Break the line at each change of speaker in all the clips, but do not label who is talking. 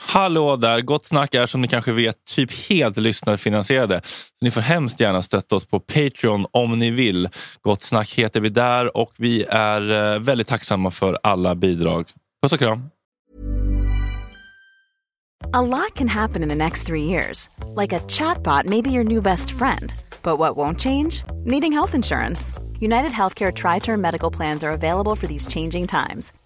Hallå där! Gott Snack är som ni kanske vet typ helt lyssnarfinansierade. Så ni får hemskt gärna stötta oss på Patreon om ni vill. Gott Snack heter vi där och vi är eh, väldigt tacksamma för alla bidrag. Puss och kram!
A lot can happen in the next three years. Like a chatbot may be your new best friend. But what won't change? Needing health insurance. United Healthcare Tri Term Medical Plans are available for these changing times.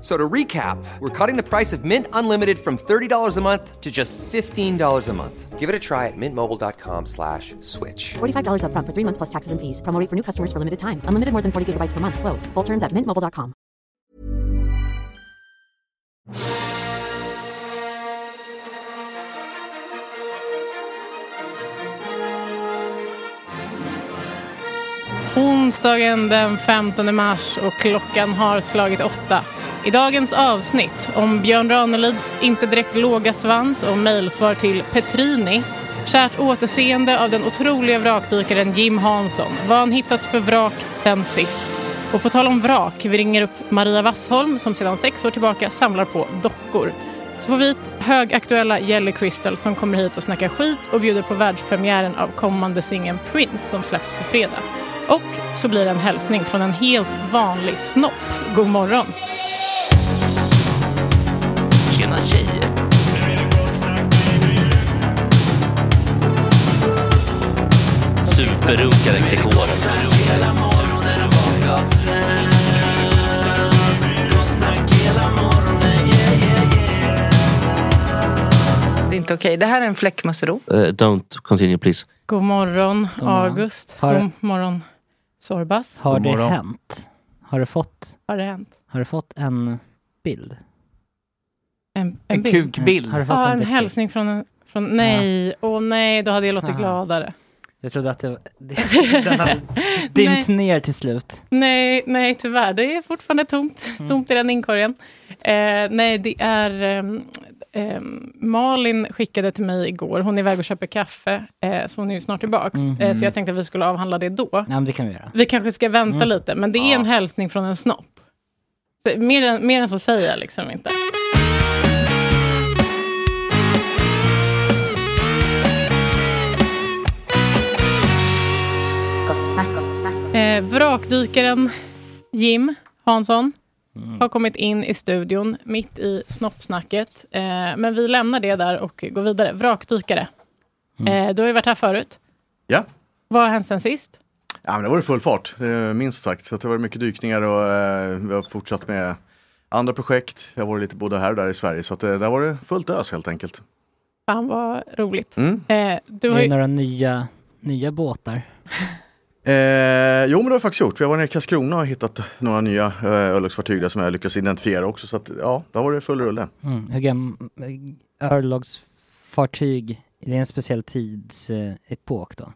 So to recap, we're cutting the price of Mint Unlimited from $30 a month to just $15 a month. Give it a try at mintmobile.com slash switch.
$45 upfront for three months plus taxes and fees. Promo rate for new customers for limited time. Unlimited more than 40 gigabytes per month. Slows. Full terms at mintmobile.com.
Onsdagen den 15 mars och klockan har slagit åtta. I dagens avsnitt om Björn Ranelids inte direkt låga svans och mejlsvar till Petrini. Kärt återseende av den otroliga vrakdykaren Jim Hansson. Vad han hittat för vrak sen sist. Och på tal om vrak, vi ringer upp Maria Wassholm som sedan sex år tillbaka samlar på dockor. Så får vi hit högaktuella Jelly Crystal som kommer hit och snackar skit och bjuder på världspremiären av kommande singeln Prince som släpps på fredag. Och så blir det en hälsning från en helt vanlig snopp. God morgon!
Tjena tjejer! Superrunkaren Gregoren.
Det är inte okej. Det här är en fläckmussero.
Uh, don't continue please.
God morgon,
morgon.
August.
Har-
God morgon, Sorbas.
Har
God
det
morgon.
hänt? Har du fått,
Har det hänt?
har du fått en bild?
En,
En
bild?
kukbild.
Har du fått
Ja, en
dickpic?
hälsning från en... Från, nej, åh nej, då hade jag låtit
Fan.
gladare.
Jag trodde att det var... det- Den hade dimpt ner till slut.
Nej, nej, tyvärr. Det är fortfarande tomt. Tomt i den inkorgen. Eh, nej, det är... ehm, ehm, Malin skickade till mig igår. Hon är iväg och köper kaffe, eh, så hon är ju snart tillbaka. Eh, så jag tänkte att vi skulle avhandla det då.
Nej, men det kan vi göra.
Vi kanske ska vänta lite, men det är en hälsning från en snopp. Så, mer, än, mer än så säger jag liksom inte. Eh, vrakdykaren Jim Hansson har kommit in i studion mitt i snoppsnacket. Eh, men vi lämnar det där och går vidare. Vrakdykare, eh, du har ju varit här förut.
Ja.
Vad har hänt sen sist?
Ja, men det var det full fart, eh, minst sagt. Så att det var mycket dykningar och eh, vi har fortsatt med andra projekt. Jag har varit lite både här och där i Sverige, så att, eh, där var det fullt ös helt enkelt.
Fan vad roligt.
Mm.
Eh, du
Det
har
är
ju,
några nya, nya båtar.
Eh, jo, men det har vi faktiskt gjort. Vi har varit nere i Karlskrona och hittat några nya eh, örlogsfartyg där som jag lyckats identifiera också. Så att, ja, där var det full rulle.
Mm. Hur gam- eh, Örlogsfartyg, det är en speciell tidsepok då.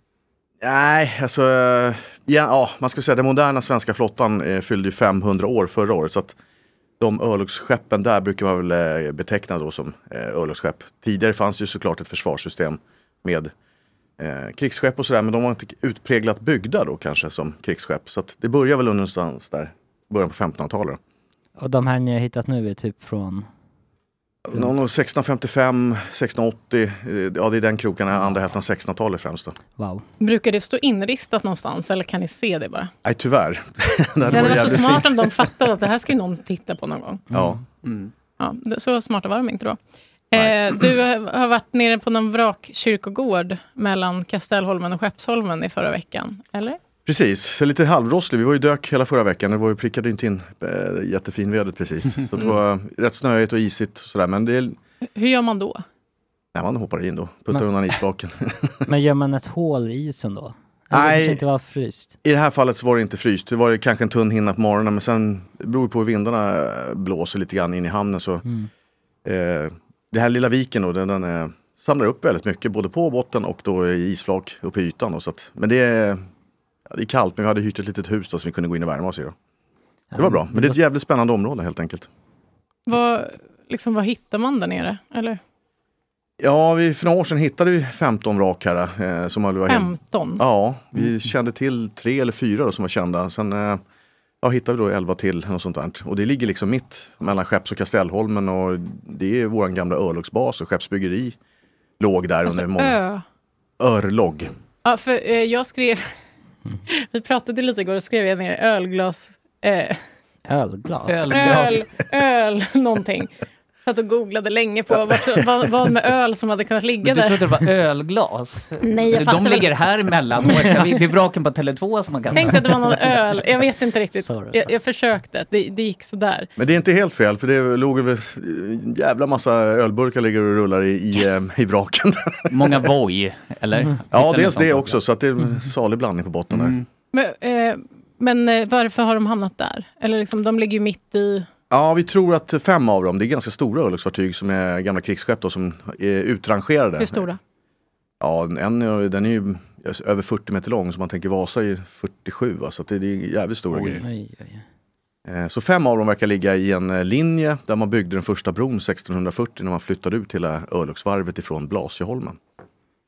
Nej, alltså, eh, ja, ja, man skulle säga den moderna svenska flottan eh, fyllde ju 500 år förra året. Så att de örlogsskeppen där brukar man väl eh, beteckna då som eh, örlogsskepp. Tidigare fanns det ju såklart ett försvarssystem med eh, krigsskepp och sådär, men de var inte utpräglat byggda då kanske som krigsskepp. Så att det börjar väl någonstans där, början på 1500-talet.
Och de här ni har hittat nu är typ från... Mm.
Någon av 1655, 1680, eh, ja det är den kroken, andra hälften av 1600-talet främst då.
Wow.
brukar det stå inristat någonstans eller kan ni se det bara?
Nej tyvärr. det
Det hade varit så
jävligt
smart
fint.
om de fattade att det här ska ju någon titta på någon gång.
Ja.
Ja, det- så smarta var de inte då. Eh, du har varit nere på någon vrakkyrkogård mellan Kastellholmen och Skeppsholmen i förra veckan, eller?
Precis, så lite halvrostig. Vi var ju dök hela förra veckan. Det var ju prickade inte in äh, jättefin vädret precis. Så det var rätt snöigt och isigt och sådär. Men det är...
Hur gör man då?
Nej, man hoppar in då. Puttar
Men-
undan isflaken.
Men gör man ett hål i isen då? Eller det
Nej.
kanske inte var fryst.
I det här fallet så var det inte fryst. Det var det kanske en tunn hinna på morgonen men sen det beror på hur vindarna blåser lite grann in i hamnen. Så, eh, det här lilla viken då, den, den eh, samlar upp väldigt mycket både på botten och då i isflak uppe i ytan. Då, så att, men det är, ja, det är kallt men vi hade hyrt ett litet hus då, så vi kunde gå in och värma oss i. Då. Det var bra, men det är ett jävligt spännande område helt enkelt.
Vad, liksom, vad hittar man där nere? Eller?
Ja, vi, för några år sedan hittade vi 15 vrak här. Eh, som hade varit
15?
Ja, vi kände till tre eller fyra då som var kända. Sen eh, ja, hittade vi då elva till. Och, sånt där. och det ligger liksom mitt mellan Skepps och Kastellholmen. Och det är vår gamla örlogsbas och Skeppsbyggeri låg där
alltså,
under många...
ö.
Örlog.
Ja, för eh, jag skrev... vi pratade lite igår och skrev jag ner ölglas... Eh,
Ölglas?
öl, öl, någonting. Satt och googlade länge på vart, vad, vad med öl som hade kunnat
Men
ligga
du
där.
trodde det var ölglas?
Nej, jag
De
fattar
ligger
väl.
här emellan. och ska vi- Det är vraken på Tele2 som man kan
Tänkte att det var någon öl. Jag vet inte riktigt.
Sorry.
Jag,
alltså.
jag försökte. Det, det gick sådär.
Men det är inte helt fel, för det låg över en jävla massa ölburkar ligger och rullar i, i, eh, i vraken.
Många voj, eller?
Ja,
Hittade ni
dels
sånt Mm.
det
också?
också. Så att det är
Mm.
en salig blandning på botten där.
Men, eh, men eh, varför har de hamnat där? Eller liksom, de ligger ju mitt i...
Ja, vi tror att fem av dem, det är ganska stora örlogsfartyg som är gamla krigsskepp då, som är utrangerade.
Hur stora?
Ja, en är- den är ju över 40 meter lång, så man tänker Vasa är 47, va? så att det det är jävligt stora
Oj,
grejer. Eh, Så fem av dem verkar ligga i en eh, linje där man byggde den första bron 1640 när man flyttade ut hela örlogsvarvet ifrån Blasieholmen.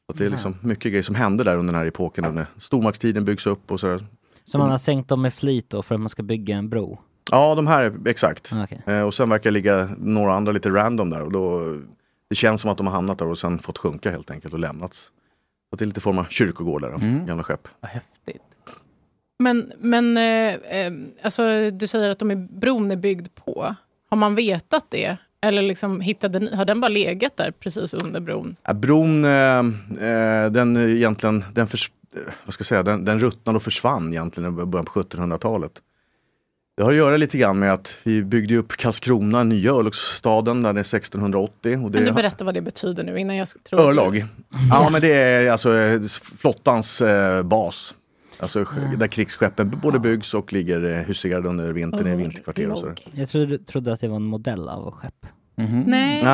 Så att det är
Ja.
liksom mycket grejer som hände där under den här epoken, när stormaktstiden byggs upp och sådär.
Så man har sänkt dem med flit då för att man ska bygga en bro?
Ja, de här, exakt. Eh, Och sen verkar det ligga några andra lite random där. Och då, det känns som att de har hamnat där och sen fått sjunka helt enkelt och lämnats. Så att det är lite form av kyrkogårdar, då, gamla skepp.
Men, men eh, eh, alltså, du säger att de är, bron är byggd på. Har man vetat det? Eller liksom hittade ni, har den bara legat där precis under bron?
Ja, bron, eh, eh, den är egentligen, den, förs- eh, vad ska jag säga, den, den ruttnade och försvann egentligen i början på 1700-talet. Det har att göra lite grann med att vi byggde upp Karlskrona, nya örlogsstaden, där det är 1680. Och det
Kan du berätta vad det betyder nu innan jag s- tror...
Örlog? Ja, men det är alltså eh, flottans eh, bas. Alltså sk- där krigsskeppen b- både byggs och ligger eh, huserade under vintern i vinterkvarter och sådär.
Jag trodde, trodde att det var en modell av ett skepp.
Nej.
Mm.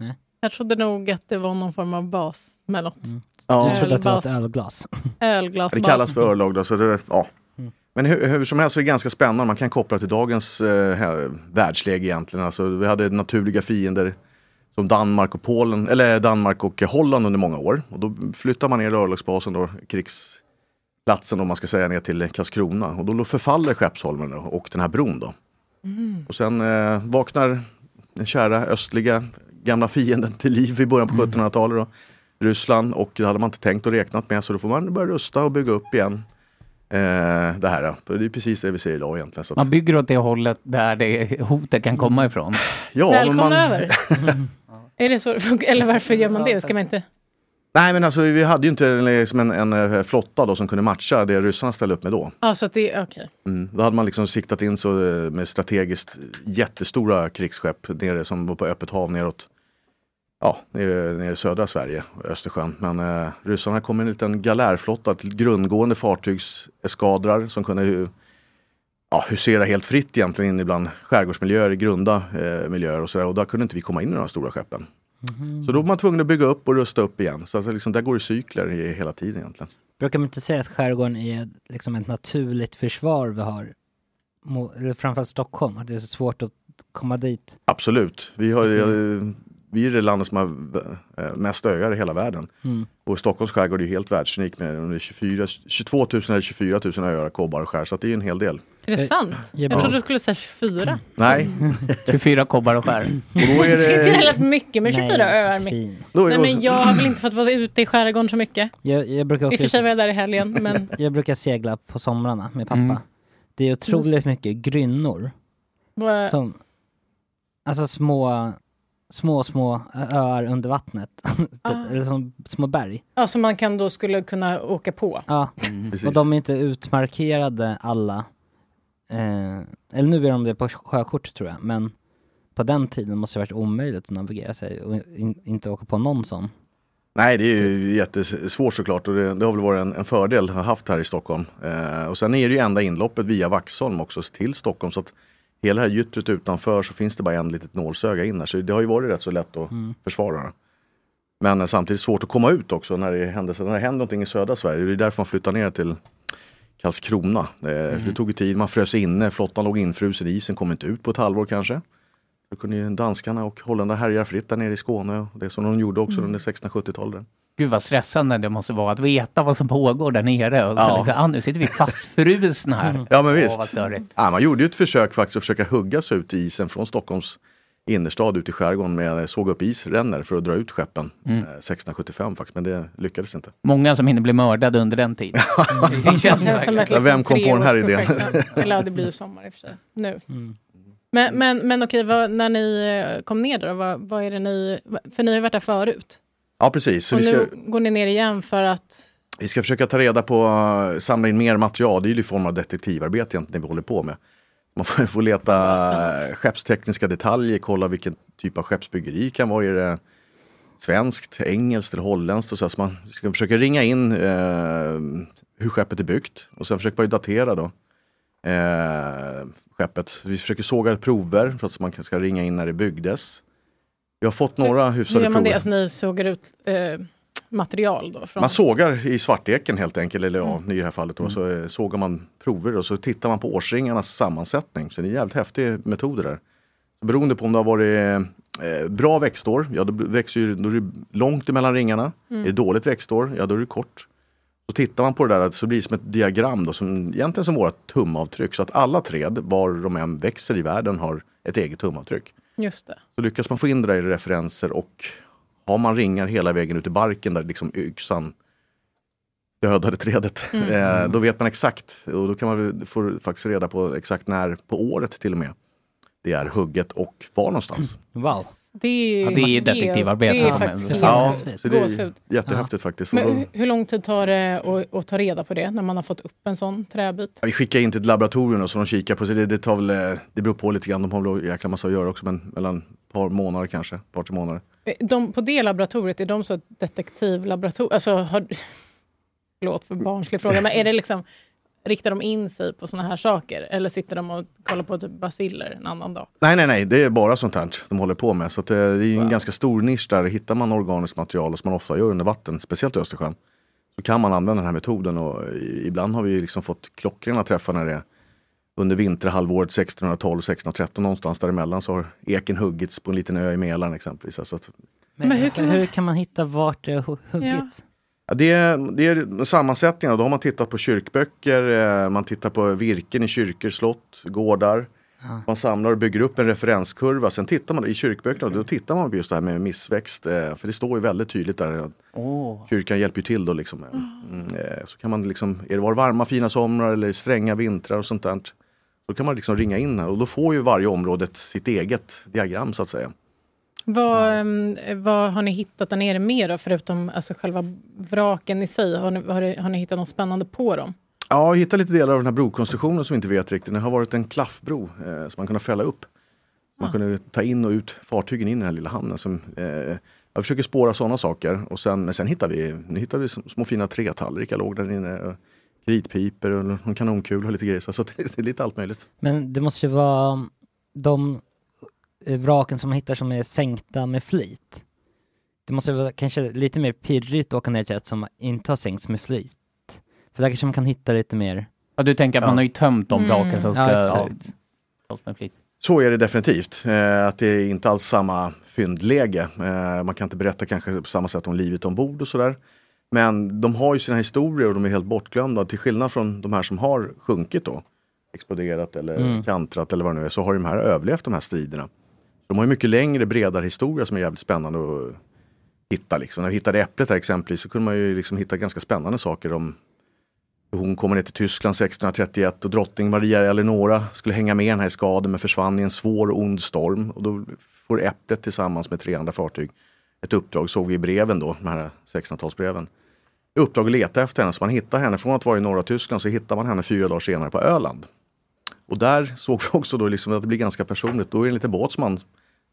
Nej.
Jag trodde nog att det var någon form av bas med något.
Ja.
Du Mm. trodde att det var ett
Ölbas.
ölglas?
Ölglasbas.
Det kallas för örlog då, så det, ja. Men hur, hur som helst så är det ganska spännande, man kan koppla till dagens eh, här, världsläge egentligen. Alltså, vi hade naturliga fiender som Danmark och Polen, eller Danmark och Holland under många år. Och då flyttar man ner örlogsbasen då, krigsplatsen om man ska säga, ner till Karlskrona. Och då förfaller Skeppsholmen då, och den här bron då.
음.
Och sen eh, vaknar den kära östliga gamla fienden till liv i början på
Mm.
1700-talet. Då. Ryssland och det hade man inte tänkt och räknat med så då får man börja rusta och bygga upp igen. Eh, det här, då. det är precis det vi ser idag egentligen. Så att,
Man bygger åt det hållet där det hotet kan komma ifrån.
ja, men
Välkomna
man-
över. Är det så det funkar? Eller varför gör man det? Ska man inte...
Nej men alltså vi hade ju inte liksom en, en eh, flotta då som kunde matcha det ryssarna ställde upp med då.
Ja, så att det är okej.
Mm. Då hade man liksom siktat in så eh, med strategiskt jättestora krigsskepp nere som var på öppet hav neråt. Ja, nere, nere i södra Sverige, Östersjön. Men eh, ryssarna kom med en liten galärflotta, ett grundgående fartygseskadrar som kunde hu- ja, husera helt fritt egentligen in ibland skärgårdsmiljöer, i grunda eh, miljöer och sådär. Och där kunde inte vi komma in i de här stora skeppen.
Mhm.
Så då var man tvungen att bygga upp och rusta upp igen. Så alltså, liksom, där går det cykler i, hela tiden egentligen.
Brukar man inte säga att skärgården är liksom ett naturligt försvar vi har? Mo- eller Framförallt Stockholm, att det är så svårt att komma dit.
Absolut. Vi, har,
Mm.
eh, vi är det landet som har eh, mest öar i hela världen.
Mm.
Och Stockholms skärgård är ju helt världsunik med under 24, 22 000 eller 24 000 öar, kobbar och skär. Så att det är ju en hel del.
Är
Eh,
det sant?
Eh,
jag
Jag
bara-
trodde du skulle säga
Mm.
24.
Nej.
24 kobbar och skär.
Och då är
Det är inte
det...
heller mycket med 24 öar. mitt.
Då
Nej,
är
men
det
jag har väl inte fått vara ute i skärgården så mycket.
Jag, jag, brukar
I och
åka
för sig
ut,
var jag där i helgen, men
jag brukar segla på somrarna med pappa.
Mm.
Det är otroligt mycket grynnor.
vad-
Som, alltså små, små, små öar under vattnet.
Ah.
Eller som små berg.
ja, som man kan då skulle kunna åka på.
Ja. Mm, Och
Mm, precis.
de är inte utmarkerade alla. Eh, eller nu är de det på sjökort tror jag, men på den tiden måste det varit omöjligt att navigera sig och in, inte åka på någon sån.
Nej, det är ju jättesvårt såklart och det, det har väl varit en, en fördel jag har haft här i Stockholm. Eh, och sen är det ju enda inloppet via Vaxholm också till Stockholm. Så att hela det här gyttret utanför så finns det bara en litet nålsöga in här. Så det har ju varit rätt så lätt att
Mm.
försvara. det. Men eh, samtidigt svårt att komma ut också när det händer, när det händer någonting i södra Sverige. Det är därför man flyttar ner till Karlskrona. Eh,
Mm.
för det tog ju tid, man frös inne, flottan låg infrusen, isen kom inte ut på ett halvår kanske. Då kunde ju danskarna och holländarna härja fritt där nere i Skåne. Och det som de gjorde också
Mm.
under 1670-talet.
Gud vad stressande det måste vara att veta vad som pågår där nere. Och så
Ja. Mm.
liksom, ah, nu sitter vi fastfrusna här.
Ja men
Mm. Åh, vad
visst.
störigt.
ja, man gjorde ju ett försök faktiskt att försöka hugga sig ut i isen från Stockholms innerstad ut i skärgården med såg upp isränner för att dra ut skeppen
Mm.
eh, 1675 faktiskt. Men det lyckades inte.
Många som hinner bli mördade under den tiden.
Det känns som ett liksom
Ja, vem kom på den här idén?
treårsprojekt. Eller ja, det blir ju sommar i och för sig. Nu. Men, men, men okej, vad, när ni eh, kom ner då, vad, vad är det ni... För ni har ju varit där förut.
Ja precis. Så
och
vi ska,
nu går ni ner igen för att...
vi ska försöka ta reda på, eh, samla in mer material. Det är ju i form av detektivarbete egentligen det vi håller på med. Man får, får leta eh, skeppstekniska detaljer, kolla vilken typ av skeppsbyggeri kan vara. Är det svenskt, engelskt eller holländskt? Och så, här. så man ska försöka ringa in eh, hur skeppet är byggt och sen försöker man ju datera då. Eh, skeppet. Vi försöker såga prover för att man kan- ska ringa in när det byggdes. Vi har fått några
Hur
hyfsade
gör man det?
prover.
Alltså ni sågar ut eh, material då? Från...
Man sågar i svarteken helt enkelt, eller ja, i det här fallet då, så eh, sågar man prover och så tittar man på årsringarnas sammansättning. Så det är jävligt häftiga metoder där. Beroende på om det har varit eh, bra växtår, ja då, växer ju, då är det långt emellan ringarna.
Mm.
Är det dåligt växtår, ja då är det kort. Så tittar man på det där så blir det som ett diagram då, som, egentligen som våra tumavtryck. Så att alla träd, var de än växer i världen, har ett eget tumavtryck.
Just det.
Så lyckas man få in det där i referenser och har man ringar hela vägen ut i barken där liksom yxan dödade trädet,
Mm.
eh, då vet man exakt. Och då kan man väl- får faktiskt reda på exakt när på året till och med det är hugget och var någonstans.
Wow.
Det
Ja, Mm.
är ju
Alltså, det är
helt-
detektivarbete.
Det är
Ja,
faktiskt
men-
helt
Ja, så det är
gåshud.
jättehäftigt faktiskt.
Men
Och då-
hur, hur lång tid tar det att, att ta reda på det när man har fått upp en sån träbit?
Ja, Vi skickar in till ett laboratorium och så de kikar på sig. Det, det, tar väl, eh, det beror på lite grann. De har väl en jäkla massa att göra också, men mellan ett par månader kanske. Ett par, tre månader.
Eh, De, på det laboratoriet, är de så ett detektivlaboratorium? Alltså, har, förlåt för barnslig fråga, men är det liksom, riktar de in sig på såna här saker? Eller sitter de och kollar på typ basiller en annan dag?
Nej, nej, nej. Det är bara sånt här de håller på med. Så att, eh, det är ju en ganska stor nisch där. Hittar man organiskt material, som man ofta gör under vatten, speciellt i Östersjön, så kan man använda den här metoden. Och i- ibland har vi ju liksom fått klockrena träffar när det är under vinterhalvåret 1612-1613 någonstans däremellan så har eken huggits på en liten ö i Mälaren exempelvis. Så att,
Men, hur, kan man... hitta vart det har huggits?
Ja, det, är, det är sammansättningar. Då har man tittat på kyrkböcker, eh, man tittar på virken i kyrkor, slott, gårdar. Man samlar och bygger upp en referenskurva. Sen tittar man i kyrkböckerna, då tittar man på just det här med missväxt. eh, För det står ju väldigt tydligt där. att
Åh.
Kyrkan hjälper ju till då liksom. eh, Mm, eh, så kan man liksom, är det var varma fina somrar eller stränga vintrar och sånt där. Då kan man liksom ringa in här och då får ju varje område ett- sitt eget diagram så att säga.
Vad, ehm, vad har ni hittat där nere mer då, förutom alltså, själva vraken i sig? Har ni, har, ni- har ni hittat något spännande på dem?
Ja, jag hittade lite delar av den här brokonstruktionen som vi inte vet riktigt. Det har varit en klaffbro eh, som man kunde fälla upp. Man kunde ta in och ut fartygen in i den här lilla hamnen. Som, eh, jag försöker spåra sådana saker. Och sen, men sen hittade vi, nu hittade vi sm- små fina trätallrikar låg där inne. och Kritpipor och någon kanonkula och lite grejer. Så, så det är lite allt möjligt.
Men det måste ju vara de eh, vraken som man hittar som är sänkta med flit. Det måste vara kanske lite mer pirrigt att åka ner till ett som inte har sänkts med flit. För där kanske man kan hitta lite mer...
Ja, du tänker att man har ju tömt de vraken som ska...
Mm. Ja, exakt.
Ja, med flit.
Så är det definitivt. Eh, att det är inte alls samma fyndläge. Eh, man kan inte berätta kanske på samma sätt om livet ombord och sådär. Men de har ju sina historier och de är helt bortglömda. Till skillnad från de här som har sjunkit då, exploderat eller
Mm.
kantrat eller vad det nu är, så har ju de här överlevt de här striderna. De har ju mycket längre, bredare historia som är jävligt spännande att hitta. Liksom. När vi hittade äpplet här exempelvis så kunde man ju liksom hitta ganska spännande saker om hon kommer ner till Tyskland 1631 och drottning Maria Eleonora skulle hänga med den här i skaden men försvann i en svår och ond storm. Och då får Äpplet tillsammans med tre andra fartyg ett uppdrag, såg vi i breven då, de här 1600-talsbreven. I Uppdrag att leta efter henne, så man hittar henne. Från att vara i norra Tyskland så hittar man henne fyra dagar senare på Öland. Och där såg vi också då liksom att det blir ganska personligt. Då är det en liten båt som man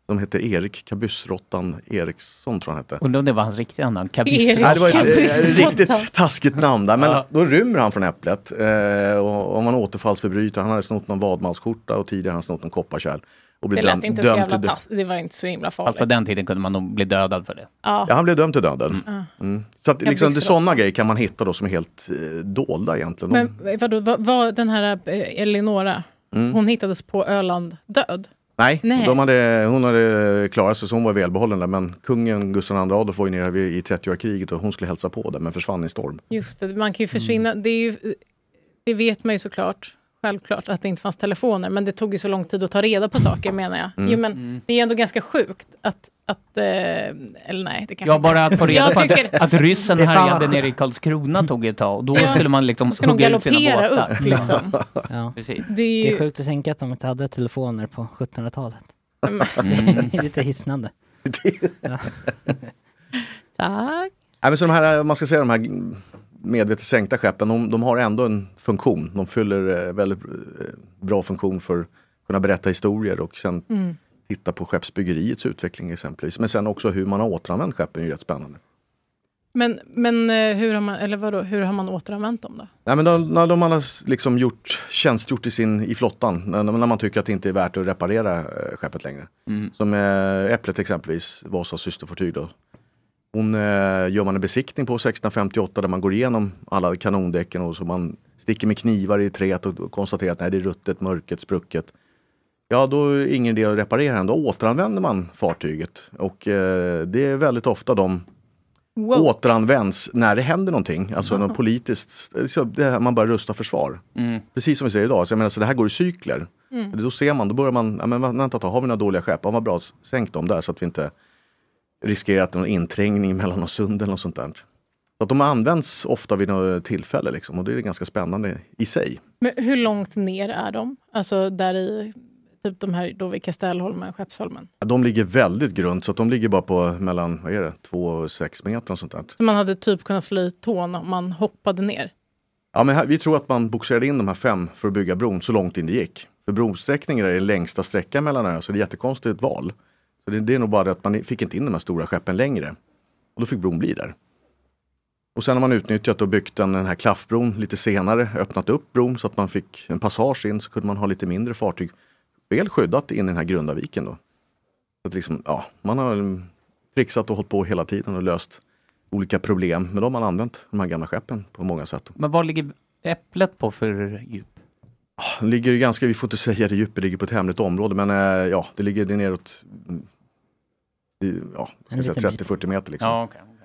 De hette Erik Kabyssrottan Eriksson, tror jag han hette.
Undrar om det var hans riktiga namn?
Erik
Kabisser.
Nej, det var ett eh, riktigt taskigt namn där. Men då rymmer han från Äpplet. Eh, och om man återfallsförbrytare. Han hade snott någon vadmalsskjorta och tidigare hade han snott en kopparkärl. Och
Det
blivit
lät
döm-
inte så
dömd
jävla
till dö-
taskigt. Det var inte så himla
Fast på
farligt.
den tiden kunde man nog bli dödad för det.
liksom. Ja.
Ja, han blev dömd till döden.
Ja.
Mm. Så att,
Jag
liksom,
visste
det
det.
sådana grejer kan man hitta då som är helt eh, dolda egentligen. De-
Men vadå, var, var den här eh, Elinora,
Mm.
hon hittades på Öland död?
Nej,
Nej.
De hade, hon hade klarat sig så hon var välbehållen där. Men kungen Gustav II Adolf var ju nere vid- i 30-årskriget och hon skulle hälsa på där men försvann i storm.
Just det, man
Mm.
kan ju försvinna. Det, är ju, det vet man ju såklart, självklart, att det inte fanns telefoner. Men det tog ju så lång tid att ta reda på saker, menar jag.
Mm.
Jo, men det är ju ändå ganska sjukt att... att eh, eller nej, det kanske
Ja, bara
inte-
att få reda
Jag
på
tycker-
att, att ryssen
Det är fan
härjade
vad-
nere i Karlskrona tog ett tag och då
Ja.
skulle man liksom
Då ska de
hugga ut sina
galoppera
båtar.
upp, liksom.
Ja.
Precis.
Det är ju-
Det är sjukt att tänka att de inte hade telefoner på 1700-talet.
Mm.
Det är Lite hisnande.
Mm.
Ja.
Tack.
Nej, men så de här, eh, man ska säga de här medvetet sänkta skeppen, de, de har ändå en funktion. De fyller eh, väldigt eh, bra funktion för att kunna berätta historier och sen
Mm.
titta på skeppsbyggeriets utveckling exempelvis. Men sen också hur man har återanvänt skeppen är ju rätt spännande.
Men, men eh, hur, har man, eller vadå, hur har man återanvänt dem då?
Nej, men de, när de har liksom gjort, tjänstgjort i, sin, i flottan, när, när man tycker att det inte är värt att reparera eh, skeppet längre.
Mm.
Som eh, Äpplet exempelvis, Vasas systerfartyg. Då. Hon eh, gör man en besiktning på 1658 där man går igenom alla kanondäcken och så man sticker med knivar i träet och och konstaterar att nej, det är ruttet, mörket, sprucket. Ja, då är det ingen idé att reparera den. Då återanvänder man fartyget och eh, det är väldigt ofta de
Wow.
återanvänds när det händer någonting. Alltså något politiskt, alltså det här, man börjar rusta försvar. Precis som vi säger idag, så jag menar, så det här går i cykler.
Mm.
Då ser man, då börjar man, ja, men vänta ett tag, har vi några dåliga skepp? Ja, vad bra, sänk dem där så att vi inte riskerar att någon inträngning mellan och sund eller något sånt där. Så att de används ofta vid något tillfälle liksom, och det är ganska spännande i sig.
Men hur långt ner är de? Alltså där i, typ de här då vid Kastellholmen, Skeppsholmen.
De ligger väldigt grunt, så att de ligger bara på mellan, vad är det, 2 och 6 meter och sånt där.
Så man hade typ kunnat slå i tån om man hoppade ner.
Ja, men här, vi tror att man boxerade in de här fem för att bygga bron så långt in det gick. För brosträckningen är den längsta sträckan mellan öar, så det är jättekonstigt val. Så det, det är nog bara det att man fick inte in de här stora skeppen längre. Och då fick bron bli där. Och sen har man utnyttjat och byggt den, den här klaffbron lite senare, öppnat upp bron så att man fick en passage in, så kunde man ha lite mindre fartyg. Väl skyddat in i den här grunda viken då. Så att liksom, ja, man har mm, trixat och hållit på hela tiden och löst olika problem. Men då har man använt de här gamla skeppen på många sätt.
Men vad ligger Äpplet på för djup?
Den Ah, ligger ju ganska, vi får inte säga det djupet, ligger på ett hemligt område, men eh, ja, det ligger det neråt mm, i- ja, ska
En
jag säga
liten bit.
30-40 meter. Liksom.
Ja, okej, okej.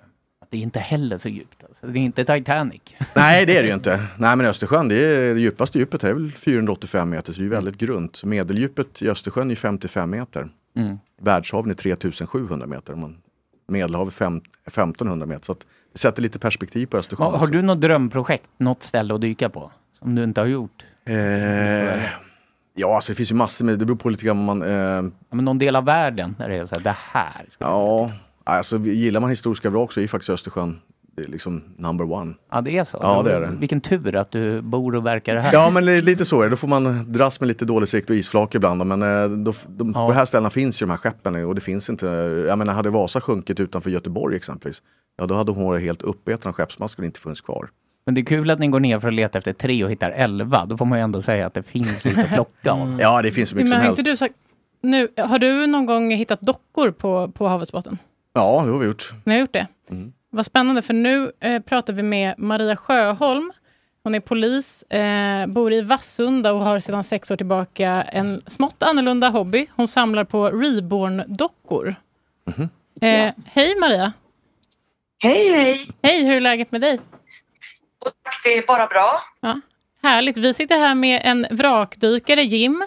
Det är inte heller så djupt. Alltså. Det är inte Titanic.
Nej, det är det ju inte. Nej, men Östersjön, det, är, det djupaste djupet här är väl 485 meter, så det är ju väldigt grunt. Så medeldjupet i Östersjön är ju 55 meter.
Mm.
Världshaven är 3700 meter. om Man, Medelhavet är fem- 1500 meter, så att, det sätter lite perspektiv på Östersjön.
Har, har
också.
du något drömprojekt, något ställe att dyka på? Som du inte har gjort?
Eh, ja, alltså det finns ju massor med, det beror på lite grann vad man... Eh,
men någon del av världen där det är så här, det här.
Ja, alltså vi- gillar man historiska vrak så är ju faktiskt Östersjön det är liksom number one.
Ja, det är så.
Ja, det är det.
Vilken tur att du bor och verkar här.
Ja, men det är lite så är det. Då får man dras med lite dålig sikt och isflak ibland. då, Men eh, då, f- de, på de här ställena finns ju de här skeppen eh, och det finns inte. Jag menar, hade Vasa sjunkit utanför Göteborg exempelvis, ja då hade hon varit helt uppetad av skeppsmasken och inte funnits kvar.
Men det är kul att ni går ner för att leta efter tre och hittar elva. Då får man ju ändå säga att det finns lite att plocka av.
Ja, det finns
Men har, inte du sagt, nu, har du någon gång hittat dockor på, på havets botten?
Ja, det har vi gjort. Mm.
Ni har gjort det? Vad spännande, för nu eh, pratar vi med Maria Sjöholm. Hon är polis, eh, bor i Vassunda och har sedan sex år tillbaka en smått annorlunda hobby. Hon samlar på reborn-dockor. Eh, Hej Maria!
Hej, hej!
Hej, hur är läget med dig?
Det är bara bra.
Ja, härligt. Vi sitter här med en vrakdykare, Jim.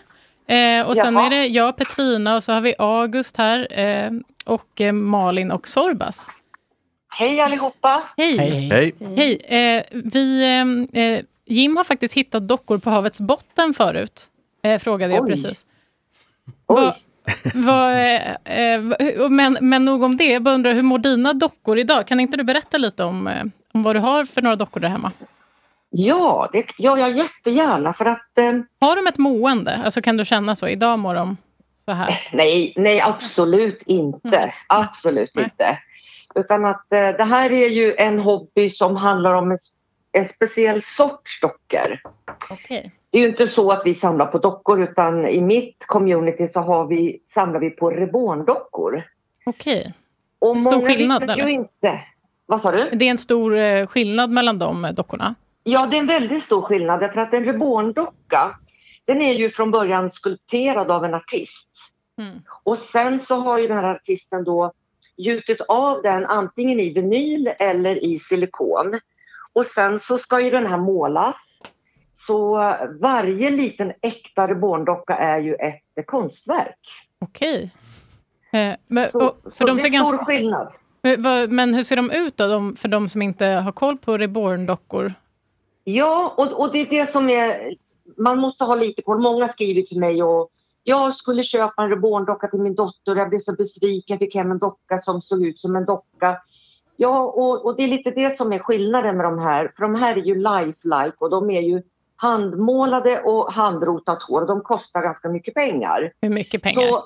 Eh, och sen
Jaha.
är det jag, Petrina, och så har vi August här. Eh, och eh, Malin och Sorbas.
Hej allihopa!
Hej!
Hej.
Hej. Eh, vi, ehm, eh, Jim har faktiskt hittat dockor på havets botten förut. Eh, frågade jag
Oj.
precis. Vad- vad, eh, eh, vad- men, men nog om det. Jag bara undrar, hur mår dina dockor idag? Kan inte du berätta lite om, eh, om vad du har för några dockor där hemma?
Ja, det gör jag jättegärna för att...
Har de ett mående? Alltså kan du känna så? Idag mår de så här?
Eh,
Mm.
Nej, nej absolut inte. Absolut inte. Utan att eh, det här är ju en hobby som handlar om en, en speciell sorts dockor.
Okej.
Det är ju inte så att vi samlar på dockor utan i mitt community så har vi, samlar vi på rebondockor.
Okej.
Och
Stor
många
skillnad,
vet ju
eller?
inte. Vad sa du?
Det är en stor eh, skillnad mellan de eh, dockorna.
Ja, det är en väldigt stor skillnad därför att en rebondocka den är ju från början skulpterad av en artist.
Mm.
Och sen så har ju den här artisten då gjutit av den antingen i vinyl eller i silikon. Och sen så ska ju den här målas. Så varje liten äkta rebondocka är ju ett konstverk.
Okej. Eh, men,
Så,
och,
så
för de
det
ser
är stor
ganska...
skillnad.
Men, vad- men hur ser de ut då, de, för de som inte har koll på reborn-dockor?
Ja, och, och det är det som är... Man måste ha lite koll. Många skriver till mig och jag skulle köpa en reborndocka till min dotter och jag blev så besviken. Fick hem en docka som såg ut som en docka. Ja, och, och det är lite det som är skillnaden med de här. För de här är ju lifelike och de är ju handmålade och handrotat hår. De kostar ganska mycket pengar.
Hur mycket pengar?
Så,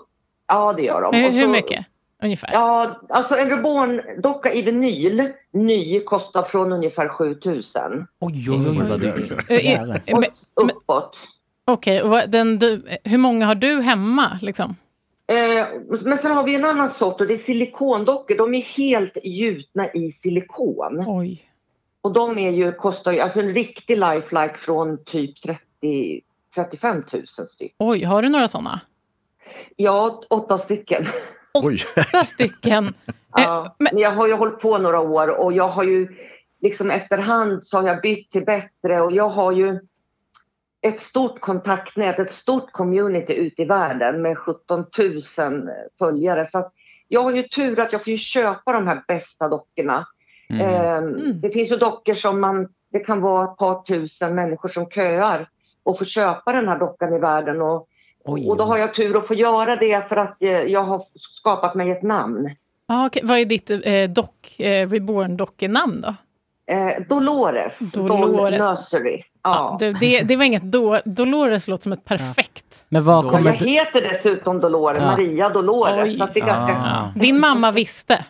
ja, det gör de.
hur,
Och så-
hur mycket? Ungefär.
Ja, alltså en reborndocka i vinyl, ny, kostar från ungefär 7000.
Oj, oj, oj, vad dyrt.
Eh, eh,
Jävlar.
men-
Uppåt.
Okej, och vad- den du, eh, hur många har du hemma? Liksom?
Eh, men sen har vi en annan sort och det är silikondockor. De är helt gjutna i silikon.
Oj.
Och de är ju, kostar ju, alltså en riktig lifelike från typ 30 35 000 stycken.
Oj, har du några sådana?
Ja, åtta stycken.
Oj.
Åtta stycken?
Ja, men... Jag har ju hållit på några år och jag har ju liksom efterhand så har jag bytt till bättre och jag har ju ett stort kontaktnät, ett stort community ute i världen med 17 000 följare. Så att jag har ju tur att jag får ju köpa de här bästa dockorna.
Mm.
Ehm, Det finns ju dockor som man, det kan vara ett par tusen människor som köar och får köpa den här dockan i världen. Och, och då har jag tur att få göra det för att eh, jag har skapat mig ett namn.
Ah, okej. Vad är ditt eh, dock, eh, reborn-dockenamn då?
Eh, Dolores.
Dolores.
Doll Nursery. Ja.
Du, det, det var inget do, Dolores låter som ett perfekt.
Men vad
Och
kommer
jag
du...
heter dessutom Dolores,
Ja.
Maria Dolores.
Oj.
Så att det är ganska...
Ah.
Din mamma visste.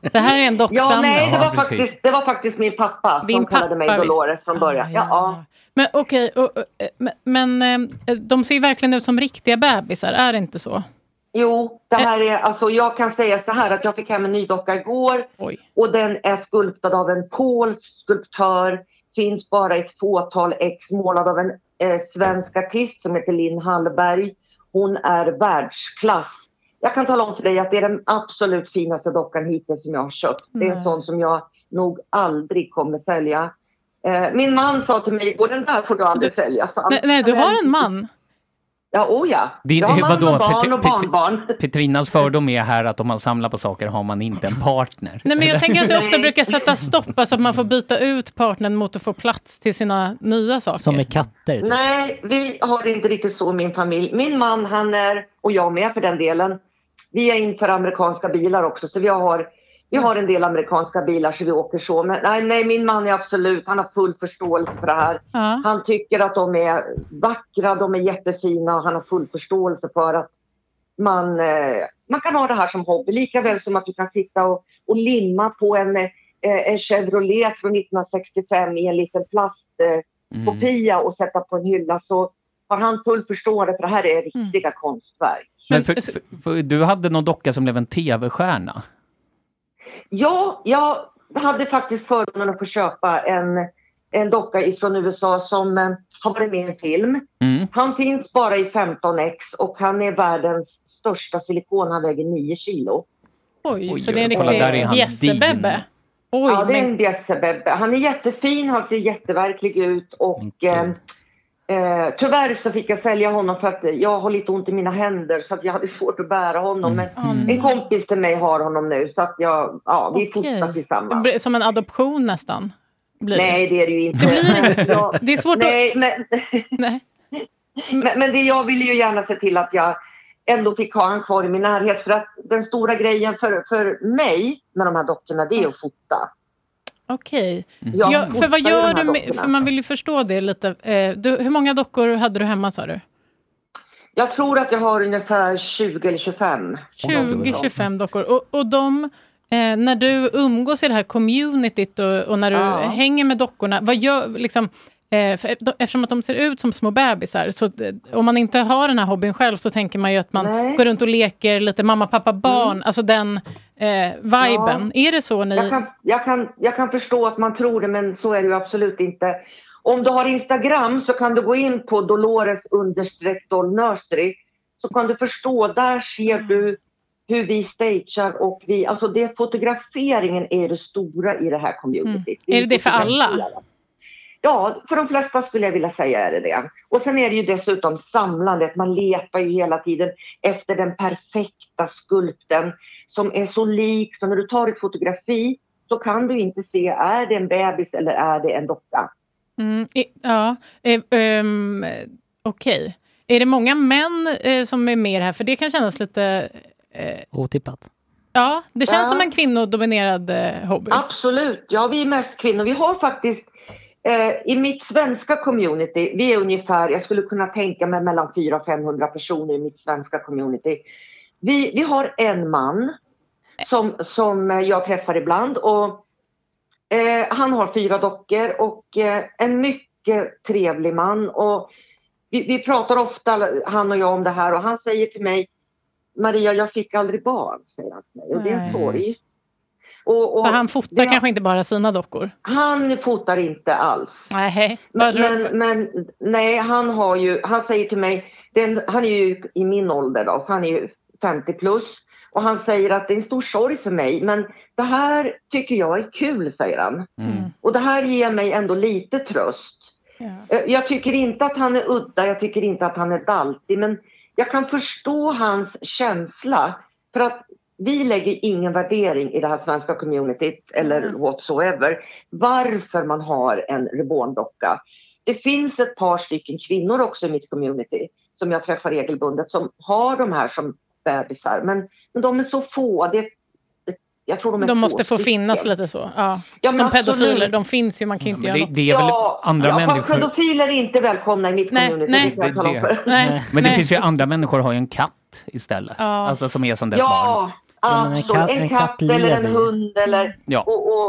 Det här är en docksamling.
Ja, nej, det
Ja,
var,
precis.
faktiskt, det var faktiskt min pappa
Din
som kallade mig
pappa, visst. Ah,
Dolores från början. ja, ja.
Men okej, och- och, eh, men, men eh, de ser ju verkligen ut som riktiga bebisar, är det inte så?
Jo,
Eh.
det här är, alltså, jag kan säga så här att jag fick hem en ny docka igår och den är skulptad av en polsk skulptör. Finns bara ett fåtal ex, målad av en eh, svensk artist som heter Linn Hallberg. Hon är världsklass. Jag kan tala om för dig att det är den absolut finaste dockan hittills som jag har köpt. Det är en
Nej.
sån som jag nog aldrig kommer sälja. Eh, min man sa till mig igår, den där får du aldrig sälja. Så
Nej, nej, du har en man.
Ja, oh ja.
Din-
jag har man
vadå,
och barn
Petri-
och
Petri-
barnbarn.
Petrinas fördom är här att om man samlar på saker har man inte en partner.
Nej, men jag tänker att det ofta brukar sätta stopp, alltså att man får byta ut partnern mot att få plats till sina nya saker.
Som med katter? Typ.
Nej, vi har det inte riktigt så i min familj. Min man, han är, och jag med för den delen, vi är inför amerikanska bilar också så vi har, vi har en del amerikanska bilar så vi åker så. Men nej, nej, min man är absolut, han har full förståelse för det här.
Ja.
Han tycker att de är vackra, de är jättefina och han har full förståelse för att man, eh, man kan ha det här som hobby. Lika väl som att du kan sitta och, och limma på en, eh, en Chevrolet från 1965 i en liten plastkopia eh, kopia och sätta på en hylla så har han full förståelse för det här är riktiga konstverk.
Men för,
alltså-
för, för, du hade någon docka som blev en tv-stjärna.
Ja, jag hade faktiskt förmånen att få köpa en, en docka ifrån USA som eh, har varit med i en film.
Mm.
Han finns bara i 15 x och han är världens största silikon. Han väger 9 kilo.
Oj, så det är en
kolla, där är han.
riktig bjässebebbe. Oj,
ja, det är en
men,
bjässebebbe. Han är jättefin, han ser jätteverklig ut och eh, eh, tyvärr så fick jag sälja honom för att jag har lite ont i mina händer så att jag hade svårt att bära honom.
Mm.
Men en kompis till mig har honom nu så att jag, ja, vi fostrar
det
tillsammans.
blir som en adoption nästan. Blir det.
Nej, det är det ju inte. Ja,
Det är svårt
nej, men,
Nej.
men, men det, jag ville ju gärna se till att jag ändå fick ha han kvar i min närhet. För att den stora grejen för, för mig med de här dockorna, det är att fota.
Okej.
Mm. Jag
Ja, för
fotar
vad
ju de
gör
här
du med,
dockorna.
för man vill ju förstå det lite. Eh, du, hur många dockor hade du hemma sa du?
Jag tror att jag har ungefär 20 eller 25.
20-25 dockor. Och, och de, eh, när du umgås i det här communityt och, och när du
Ja.
hänger med dockorna, vad gör, liksom, eh, för, de, eftersom att de ser ut som små bebisar, så eh, om man inte har den här hobbyn själv så tänker man ju att man
Nej. Mm.
går runt och leker lite mamma, pappa, barn, alltså den eh, viben. Är det så ni...
Jag kan, jag, kan, jag kan förstå att man tror det, men så är det ju absolut inte. Om du har Instagram så kan du gå in på Dolores understreck Doll Nursery så kan du förstå, där ser
Mm.
du hur vi stagear och vi, alltså det, fotograferingen är det stora i det här communityt.
Mm. Är det det för alla?
Ja, för de flesta skulle jag vilja säga är det det. Och sen är det ju dessutom samlandet. Man letar ju hela tiden efter den perfekta skulpten som är så lik. Så när du tar ett fotografi så kan du inte se, är det en bebis eller är det en docka?
Mm, i, ja, eh, ehm, okej. Är det många män eh, som är med här? För det kan kännas lite... Eh,
Otippat.
ja, det känns
Ja.
som en kvinnodominerad eh, hobby.
Absolut, ja vi är mest kvinnor. Vi har faktiskt eh, i mitt svenska community, vi är ungefär, jag skulle kunna tänka mig mellan 400 och 500 personer i mitt svenska community. Vi, vi har en man som, som eh, jag träffar ibland och eh, han har fyra dockor och eh, en mycket trevlig man och vi, vi pratar ofta han och jag om det här och han säger till mig Maria, jag fick aldrig barn, säger han till mig. Och det är en
Nej.
sorg. Och, och
För han fotar
det-
kanske inte bara sina dockor.
han fotar inte alls.
Nej,
Men, men, men nej, han har ju, han säger till mig, den, han är ju i min ålder då, så han är ju 50 plus. Och han säger att det är en stor sorg för mig, men det här tycker jag är kul, säger han.
Mm.
Och det här ger mig ändå lite tröst. Eh, Jag tycker inte att han är udda, jag tycker inte att han är daltig, men jag kan förstå hans känsla. För att vi lägger ingen värdering i det här svenska communityt eller whatsoever varför man har en reborndocka. Det finns ett par stycken kvinnor också i mitt community som jag träffar regelbundet som har de här som bebisar. Men, men de är så få. Det, det, jag tror de är
De måste
två
få finnas
stycken.
lite så. Ja.
Ja, men
som pedofiler,
absolut.
de finns ju, man kan ju inte
men
göra
det-
något.
det är väl andra
ja, fast
människor-
Pedofiler är inte välkomna i mitt community.
nej.
det kan jag
Det-
tala om
det-
för.
Nej.
Men det finns ju andra människor har ju en katt istället.
Ja.
Alltså som är som dess barn.
Ja,
Ja, men en
alltså,
katt-
en,
en
katt,
katt
eller en
lever ju.
hund. Eller,
Ja.
och, och,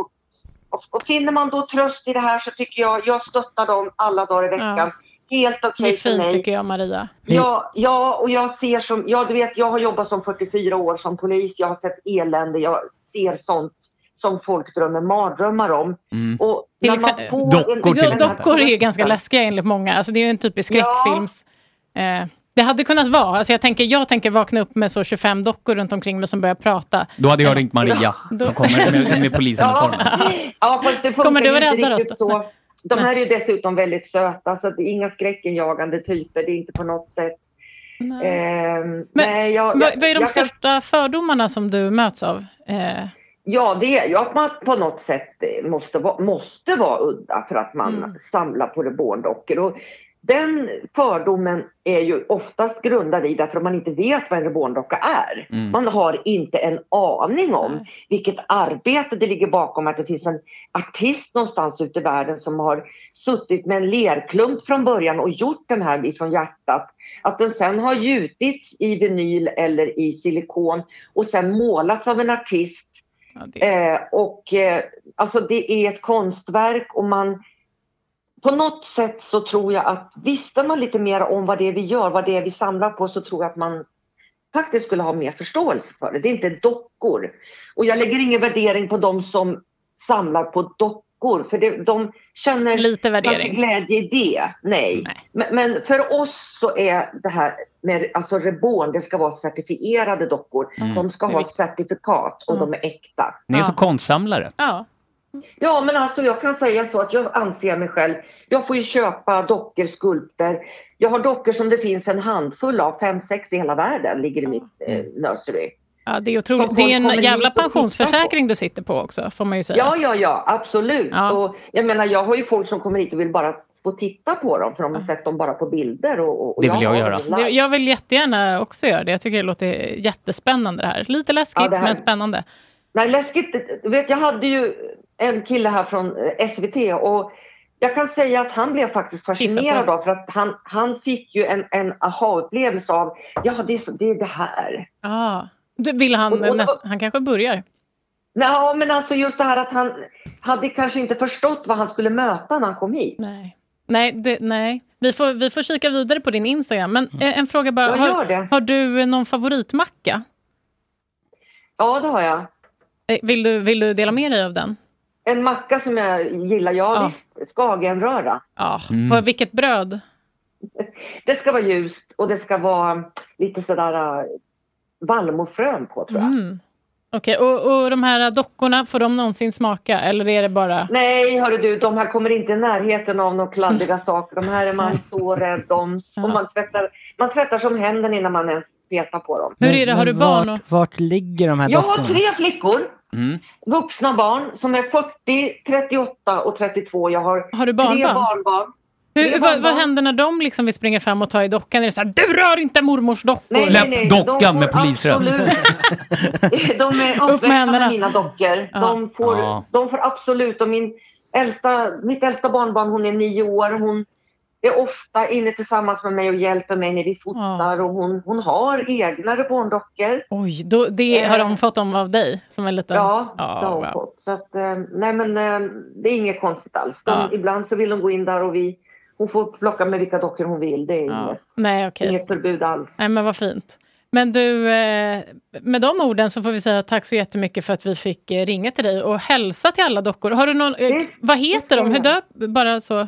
och, och finner man då tröst i det här så tycker jag, jag stöttar dem alla dagar i veckan.
Ja.
Helt
Det är
okej för
fint
mig.
tycker jag, Maria.
Ja, ja, och jag ser som, ja du vet jag har jobbat som 44 år som polis, jag har sett elände, jag ser sånt som folk drömmer mardrömmar om.
Mm.
Och när
Till
man
exempel-
får en-
Do-
en-
dockor är ju ganska läskiga enligt många. Alltså, det är ju en typisk skräckfilms... Eh, det hade kunnat vara. Alltså, jag, tänker, jag tänker vakna upp med så 25 dockor runt omkring mig som börjar prata.
Då hade jag ringt Maria
Då-
som kommer med, med polisen
Ja, fast det funkar
Kommer du
ju inte
rädda
riktigt
oss då?
så. De här är ju dessutom väldigt söta så att det är inga skräckenjagande typer, det är inte på något sätt.
Nej.
Ehm,
Men
nej, jag,
Vad, vad är de
jag kan-
största fördomarna som du möts av? Eh,
Ja, det är ju att man på något sätt eh, måste vara, måste vara udda för att man
Mm.
samlar på reborndockor. Och den fördomen är ju oftast grundad i därför att man inte vet vad en reborndocka är.
Mm.
Man har inte en aning om vilket arbete det ligger bakom att det finns en artist någonstans ute i världen som har suttit med en lerklump från början och gjort den här ifrån hjärtat. Att den sen har gjutits i vinyl eller i silikon och sen målats av en artist Eh, och eh, alltså det är ett konstverk och man på något sätt så tror jag att visste man lite mer om vad det är vi gör, vad det är vi samlar på så tror jag att man faktiskt skulle ha mer förståelse för det. Det är inte dockor. Och jag lägger ingen värdering på de som samlar på dockor för det, de känner
Lite värdering.
kanske glädje i det. Nej. Men, men för oss så är det här med alltså reborn, det ska vara certifierade dockor.
Mm.
De ska
Det är
ha
viktigt. Mm.
certifikat och de är äkta.
Ni är så konstsamlare.
Ja.
Ja, men alltså jag kan säga så att jag anser mig själv. Jag får ju köpa dockor, skulpter. Jag har dockor som det finns en handfull av, fem, sex i hela världen ligger i mitt eh, nursery.
Mm. ja, det är otroligt. Det är en jävla pensionsförsäkring du sitter på också, får man ju säga.
Ja, ja, ja, absolut. Och jag menar, jag har ju folk som kommer hit och vill bara få titta på dem för de har sett dem bara på bilder. Och, och har dem live.
Det- Jag vill jättegärna också göra det. Jag tycker det låter jättespännande det här. Lite läskigt,
Ja, det här-
men spännande.
Nej, läskigt. Du vet, jag hade ju en kille här från eh, SVT och Jag kan säga att han blev faktiskt fascinerad
Kissa
av för att han, han fick ju en, en aha-upplevelse av ja, det är, så, det är det här.
Ah. Du, vill han,
Och- och-
näst, han kanske börjar?
Ja, men alltså just det här att han hade kanske inte förstått vad han skulle möta när han kom hit.
Nej. Nej, det, nej. Vi, får, vi får kika vidare på din Instagram. Men eh, en fråga bara.
Jag gör
Har,
det.
har du någon favoritmacka?
Ja, det har jag.
Eh, Vill du, vill du dela med dig av den?
En macka som jag gillar, ja, visst, Skagenröra.
Ja.
Mm.
På vilket bröd?
Det ska vara ljust och det ska vara lite sådär äh, vallmofrön på tror jag.
Mm. Okej, och, och de här dockorna, får de någonsin smaka? Eller är det bara...
Nej, hörru du, de här kommer inte i närheten av några
Mm.
kladdiga saker. De här är man så rädd om. Och man, tvättar, man tvättar som händerna innan man ens petar på dem.
Men- men vart, Vart ligger de här
Jag har
dockorna?
tre flickor,
Mm.
vuxna barn, som är 40, 38 och 32. Jag har,
Har
tre
du barnbarn?
barnbarn.
Hur,
Tre
vad, vad
barnbarn.
händer när de liksom vill springa fram och ta i dockan? Är det så här, du rör inte mormors docka!
Nej, nej, nej, de får absolut- De är
Upp med
uppväxta
händerna.
med mina dockor. De får,
Ja.
de får absolut... Och min äldsta, mitt äldsta barnbarn, hon är nio år. Hon är ofta inne tillsammans med mig och hjälper mig när vi fotar. Och hon, hon har egna reborndockor.
Oj, då, det har de fått dem av dig? Som en liten...
Eh. Ja,
Ja,
det har hon
wow.
fått. Så att, eh, nej, men eh, det är inget konstigt alls. De,
Ja.
Ibland så vill de gå in där och vi... Hon får plocka med vilka dockor hon vill. Det är inget,
Nej, okej.
inget förbud alls.
Nej, men vad fint. Men du, eh, med de orden så får vi säga tack så jättemycket för att vi fick eh, ringa till dig och hälsa till alla dockor. Har du någon, eh, vad heter de? Hur döp, bara så.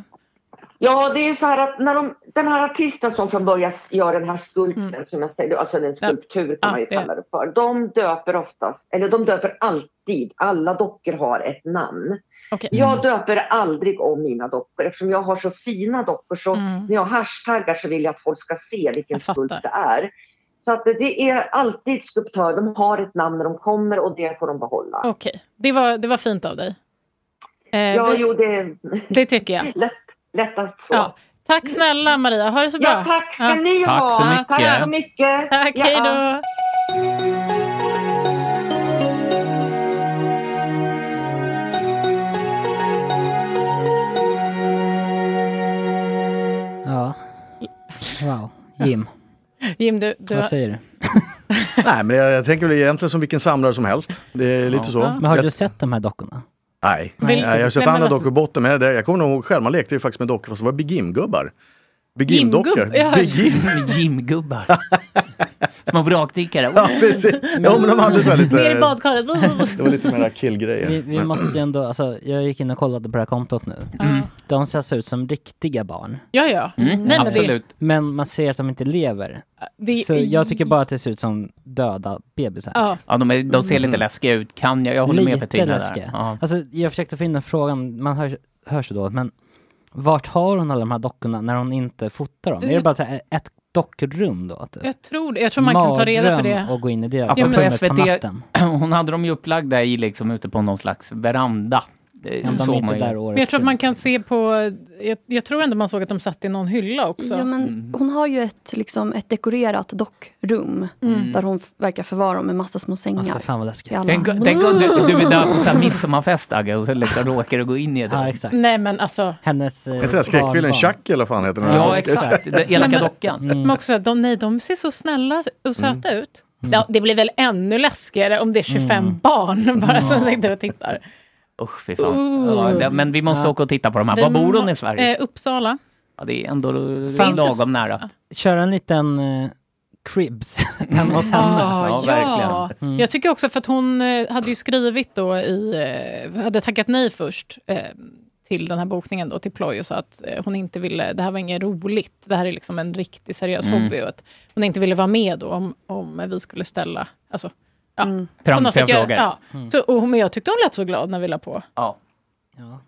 Ja, det är ju så här att när de, den här artisten som från början gör den här skulpten, som jag säger, alltså en skulptur kan
Mm. Ja,
man ju
det-
kalla det för. De döper oftast, eller de döper alltid, alla dockor har ett namn. Jag döper aldrig om mina dockor eftersom jag har så fina dockor så
Mm.
när jag hashtaggar så vill jag att folk ska se vilken skulpt det är. Så att det är alltid skulptör, de har ett namn när de kommer och det får de behålla.
Okej, det, var, det var fint av dig. Eh,
ja,
vi-
jo det...
Det tycker jag.
Lätt, lättast så.
Ja. Tack snälla Maria, ha det så bra.
Ja, tack ska ni ha. Tack så mycket. mycket.
Tack,
Ja.
hej då.
Ja. Wow. Jim,
Jim, du... du
vad säger du?
Nej, men jag, jag tänker väl egentligen som vilken samlare som helst. Det är lite så.
Men har
jag,
du sett de här dockorna?
Nej,
Vill-
Nej, jag har sett
Nej, men
andra
alltså-
dockor i botten, men det, jag kommer nog ihåg själv, man lekte ju faktiskt med dockor fast det var Big Jim-gubbar. Big Jim-dockor.
Jimgubb- ja.
Big Jim.
Jimgubbar. Små vrakdykare.
Ja, precis. Ja, men de hade så här lite...
Ner i badkaret.
Det var lite mera killgrejer.
Vi, vi
Men-
måste ju ändå, alltså, jag gick in och kollade på det här kontot nu. De ser alltså ut som riktiga barn.
Mm. Ja, ja. Mm, Nej, men det- absolut.
Men man ser att de inte lever.
det-
Så jag tycker bara att det ser ut som döda bebisar.
Ja.
Ja, de, är, de ser lite
Mm.
läskiga ut. Kan jag? Jag håller med
Lite
Petrina
läskiga.
där. Ja.
Alltså, jag försökte finna frågan, man hör, hör så då, men vart har hon alla de här dockorna när hon inte fotar dem? Är det bara så här ett dockrum då? Typ?
Jag tror det. Jag tror man kan ta reda på
Mardröm
det.
att gå in i det.
Apropå
rummet på
SVT,
natten.
hon hade dem ju upplagda i, liksom, ute på någon slags veranda. Det
Ja, de är
såg
inte
man ju.
där året
Men jag tror att man kan se på... Jag, jag tror ändå man såg att de satt i någon hylla också.
Ja,
Mm.
men hon har ju ett, liksom, ett dekorerat dockrum
Mm.
där hon f- verkar förvara dem med massa små sängar.
för fan vad läskigt.
i alla-
Tänk, tänk om du, du är där på så här midsommarfest Agge och så liksom råkar du gå in i det.
Ja, exakt.
Nej, men alltså...
Hennes eh,
Heter den här skräckfilmen
barnbarn.
Chucky eller vad fan heter den?
Ja, exakt. Den elaka dockan.
Men också, att de, nej, de ser så snälla och söta
Mm.
ut. Ja, det blir väl ännu läskigare om det är 25 barn bara som
Mm.
sitter och tittar.
Usch, fy fan. Ja, det- men vi måste
Ja.
åka och titta på de här.
Vi
Var bor hon
må-
i Sverige?
Eh, Uppsala.
Ja, det är ändå
Fan.
lagom nära.
Köra en liten eh, cribs hemma hos henne.
ja, ja.
Mm.
Jag tycker också för att hon eh, hade ju skrivit då i, eh, hade tackat nej först eh, till den här bokningen då, till Ploy och sa att eh, hon inte ville, det här var inget roligt, det här är liksom en riktig seriös
Mm.
hobby och att hon inte ville vara med då om, om vi skulle ställa, alltså, ja.
Mm.
Tramsiga
på något sätt
frågor.
Ja.
Mm.
Så, och, men jag tyckte hon lät så glad när vi la på.
Ja.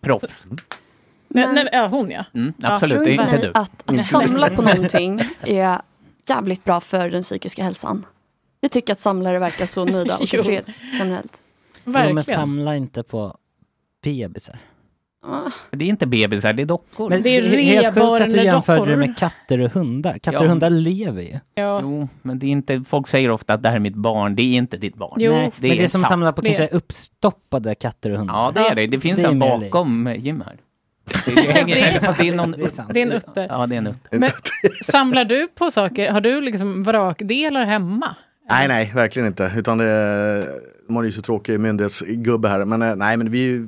Proffs.
Men, nej, ja, hon ja.
Mm,
Ja.
absolut,
Tror
det är
inte
inte
ni
du.
att,
Mm.
att samla på någonting är jävligt bra för den psykiska hälsan? Jag tycker att samlare verkar så nöjda
Jo.
och tillfreds generellt.
Jo, men samla inte på bebisar.
Ah.
Det är inte bebisar, det är dockor.
Men det är helt sjukt att du jämförde det med katter och hundar. Katter
Ja.
och hundar lever ju.
Jo, men det är inte, folk säger ofta att det här är mitt barn, det är inte ditt barn.
Nej, men det är
en
som
katt.
att samla på kanske uppstoppade katter och hundar.
Ja, det är det. Det finns
är
en
mer likt.
bakom Jim här.
Det, det hänger, fast det är någon...
Det är en utter.
Ja, det är en utter.
Men samlar du på saker? Har du liksom vrakdelar hemma?
Nej, nej, verkligen inte. Utan det, de har ju så tråkig myndighetsgubbe här. Men eh, nej, men vi,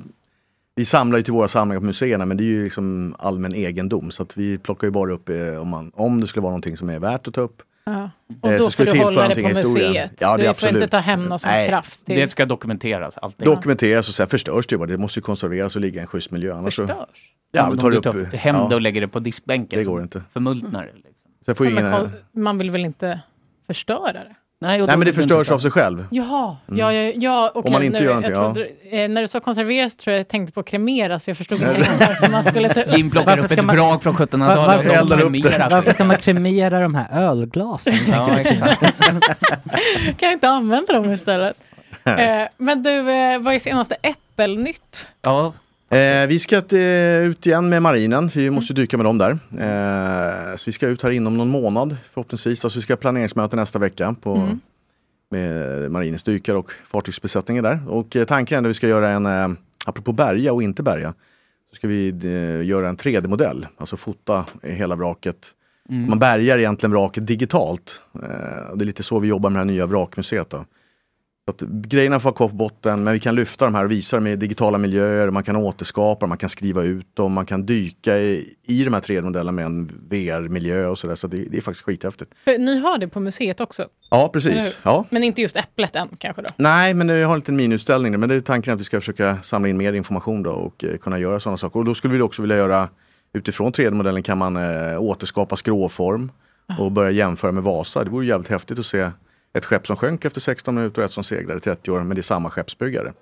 vi samlar ju till våra samlingar på museerna, men det är ju liksom allmän egendom. Så att vi plockar ju bara upp eh, om, man, om det skulle vara någonting som är värt att ta upp.
Ja.
Eh,
Och
så ska
då
vi
får du
tillföra
hålla det
någonting
på
i historien.
museet.
Ja, det
du får
absolut.
inte ta hem något som
Nej.
krafts.
Det
ska dokumenteras. Allting.
Dokumenteras och sen förstörs det ju bara. Det måste ju konserveras och ligga i en schysst miljö. Annars så,
Förstörs?
Ja,
Om
vi tar
du
upp,
tar hem det och lägger det på diskbänken.
Det går inte.
Förmultnar det. Liksom.
Sen får ju
Ja, men
ingen...
koll- Man vill väl inte förstöra det?
Nej,
Nej, men det förstörs av sig själv.
Jaha,
Mm.
ja, ja, ja okej.
Om man inte
nu,
gör
jag
någonting,
trodde, eh, När du sa konserveras tror jag jag tänkte på kremeras. Jag förstod inte varför man skulle ta upp
Jim plockar
Varför
upp
ska
ett
man-
vrak från
Va-
1700-talet.
varför-
och
Eldar upp
kremerar sig.
Varför ska man kremera de här ölglasen?
Ja, exakt.
Kan jag inte använda dem istället? Eh, men du, eh, vad är senaste äppelnytt?
Ja.
Eh, vi ska till, ut igen med marinen, för vi måste dyka med dem där. Eh, så vi ska ut här inom någon månad förhoppningsvis. Då, så vi ska ha planeringsmöte nästa vecka på,
Mm.
med marinens dykare och fartygsbesättningen där. Och eh, tanken är att vi ska göra en, eh, apropå bärga och inte bärga, så ska vi eh, göra en 3D-modell, alltså fota hela vraket.
Mm.
Man bärgar egentligen vraket digitalt. Eh, och det är lite så vi jobbar med det här nya vrakmuseet. Då. Så att grejerna får vara kvar på botten, men vi kan lyfta de här och visa dem i digitala miljöer, man kan återskapa dem, man kan skriva ut dem, man kan dyka i, i de här 3D-modellerna med en VR-miljö och sådär. Så det, det är faktiskt skithäftigt.
För ni har det på museet också?
Ja,
eller
precis.
hur?
Ja.
Men inte just äpplet än kanske då?
Nej, men jag har en liten miniutställning där, men det är tanken att vi ska försöka samla in mer information då och eh, kunna göra sådana saker. Och då skulle vi också vilja göra, utifrån 3D-modellen kan man eh, återskapa skråform
Ah.
och börja jämföra med Vasa. Det vore jävligt häftigt att se ett skepp som sjönk efter 16 minuter och ett som seglade i 30 år, men det är samma skeppsbyggare.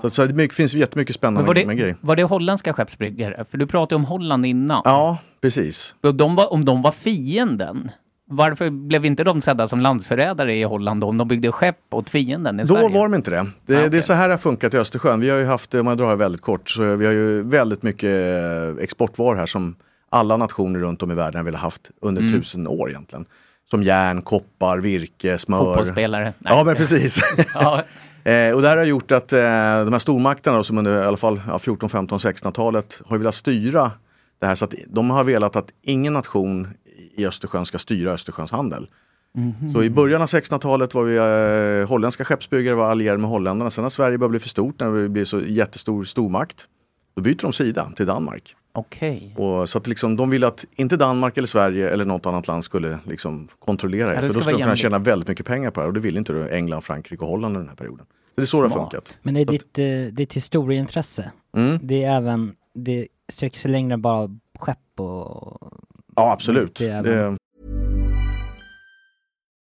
Så, så det är mycket- finns jättemycket
Mm. Men
spännande
var,
med grejer.
det, var det holländska skeppsbyggare? För du pratade om Holland innan.
Ja, precis.
De var, om de var fienden, varför blev inte de sedda som landsförrädare i Holland om de byggde skepp åt fienden i
Då
Sverige? Ah,
var de inte det. Det, det är så här det har funkat i Östersjön. Vi har ju haft, eh, om jag drar det väldigt kort, så vi har ju väldigt mycket eh, exportvaror här som alla nationer runt om i världen har velat haft under
Mm.
tusen år egentligen. Som järn, koppar, virke, smör.
Fotbollsspelare. Nej.
Ja, men precis.
Ja.
Eh, och det här har gjort att eh, de här stormakterna då, som under i alla fall ja, 14, 15, 1600-talet har ju velat styra det här. Så att de har velat att ingen nation i Östersjön ska styra Östersjöns handel.
Mhm.
Så i början av 1600-talet var vi eh, holländska skeppsbyggare var allierade med holländarna. Sen när Sverige började bli för stort, när vi blev så jättestor stormakt, då byter de sida till Danmark.
Okej.
Och, så att liksom, de ville att inte Danmark eller Sverige eller något annat land skulle liksom kontrollera er.
Ja, det
för
ska
då skulle
vara
de kunna
jämlikt.
tjäna väldigt mycket pengar på det här. Och det ville inte då England, Frankrike och Holland under den här perioden. Så det är så det har
Smart.
funkat.
Men det är ditt, eh, ditt historieintresse.
Mm.
Det är även, det sträcker sig längre än bara skepp och...
Ja, absolut.
Det är även-
Det,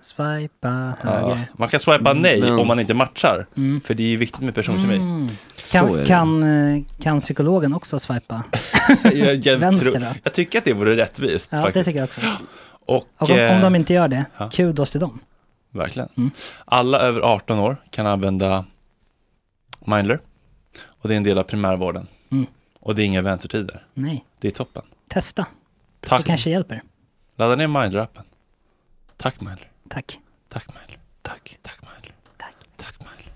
Swipa
Ja.
höger.
Man kan swipa nej
Men-
om man inte matchar,
Mm.
för det är ju viktigt med personkemi.
Mm.
Så är
Kan,
det.
kan, eh, kan psykologen också swipa?
jag, jag,
Vänster
tror-
då?
jag tycker att det vore rättvist.
Ja, det
faktiskt.
tycker jag också.
Och,
Och om, om
eh,
de Mm. inte gör det,
ja.
kudos till dem.
Verkligen. Alla över 18 år kan använda Mindler. Och det är en del av primärvården.
Mm.
Och det är inga väntetider.
Nej,
Det är toppen.
testa. Det
Tack.
kanske hjälper.
Ladda ner Mindler-appen. Tack Mindler.
Tack.
Tack Mindler. Tack. Tack Mindler. Tack Mindler.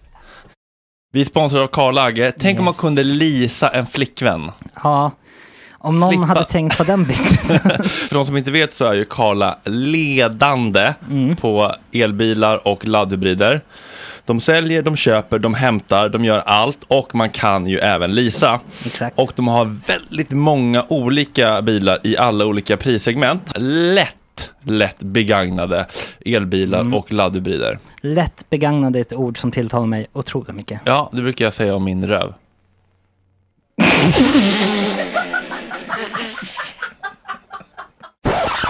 Vi är sponsrade av Karl Agge. Tänk om man
Yes.
kunde leasa en flickvän.
Ja, om någon
Slippa-
hade tänkt på den businessen.
För de som inte vet så är ju Karla ledande på elbilar och laddhybrider. De säljer, de köper, de hämtar, de gör allt och man kan ju även leasa. Och de har väldigt många olika bilar i alla olika prissegment. Lätt, lätt begagnade elbilar och laddhybrider.
Lätt begagnade är ett ord som tilltalar mig otroligt mycket.
Ja, det brukar jag säga om min röv.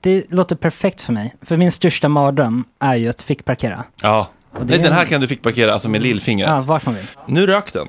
det låter perfekt för mig. För min största mardröm är ju att fick parkera.
Ja.
det
Nej,
är-
den här kan du fick parkera alltså med lillfingret.
Ja, vart man vill.
Nu rök den.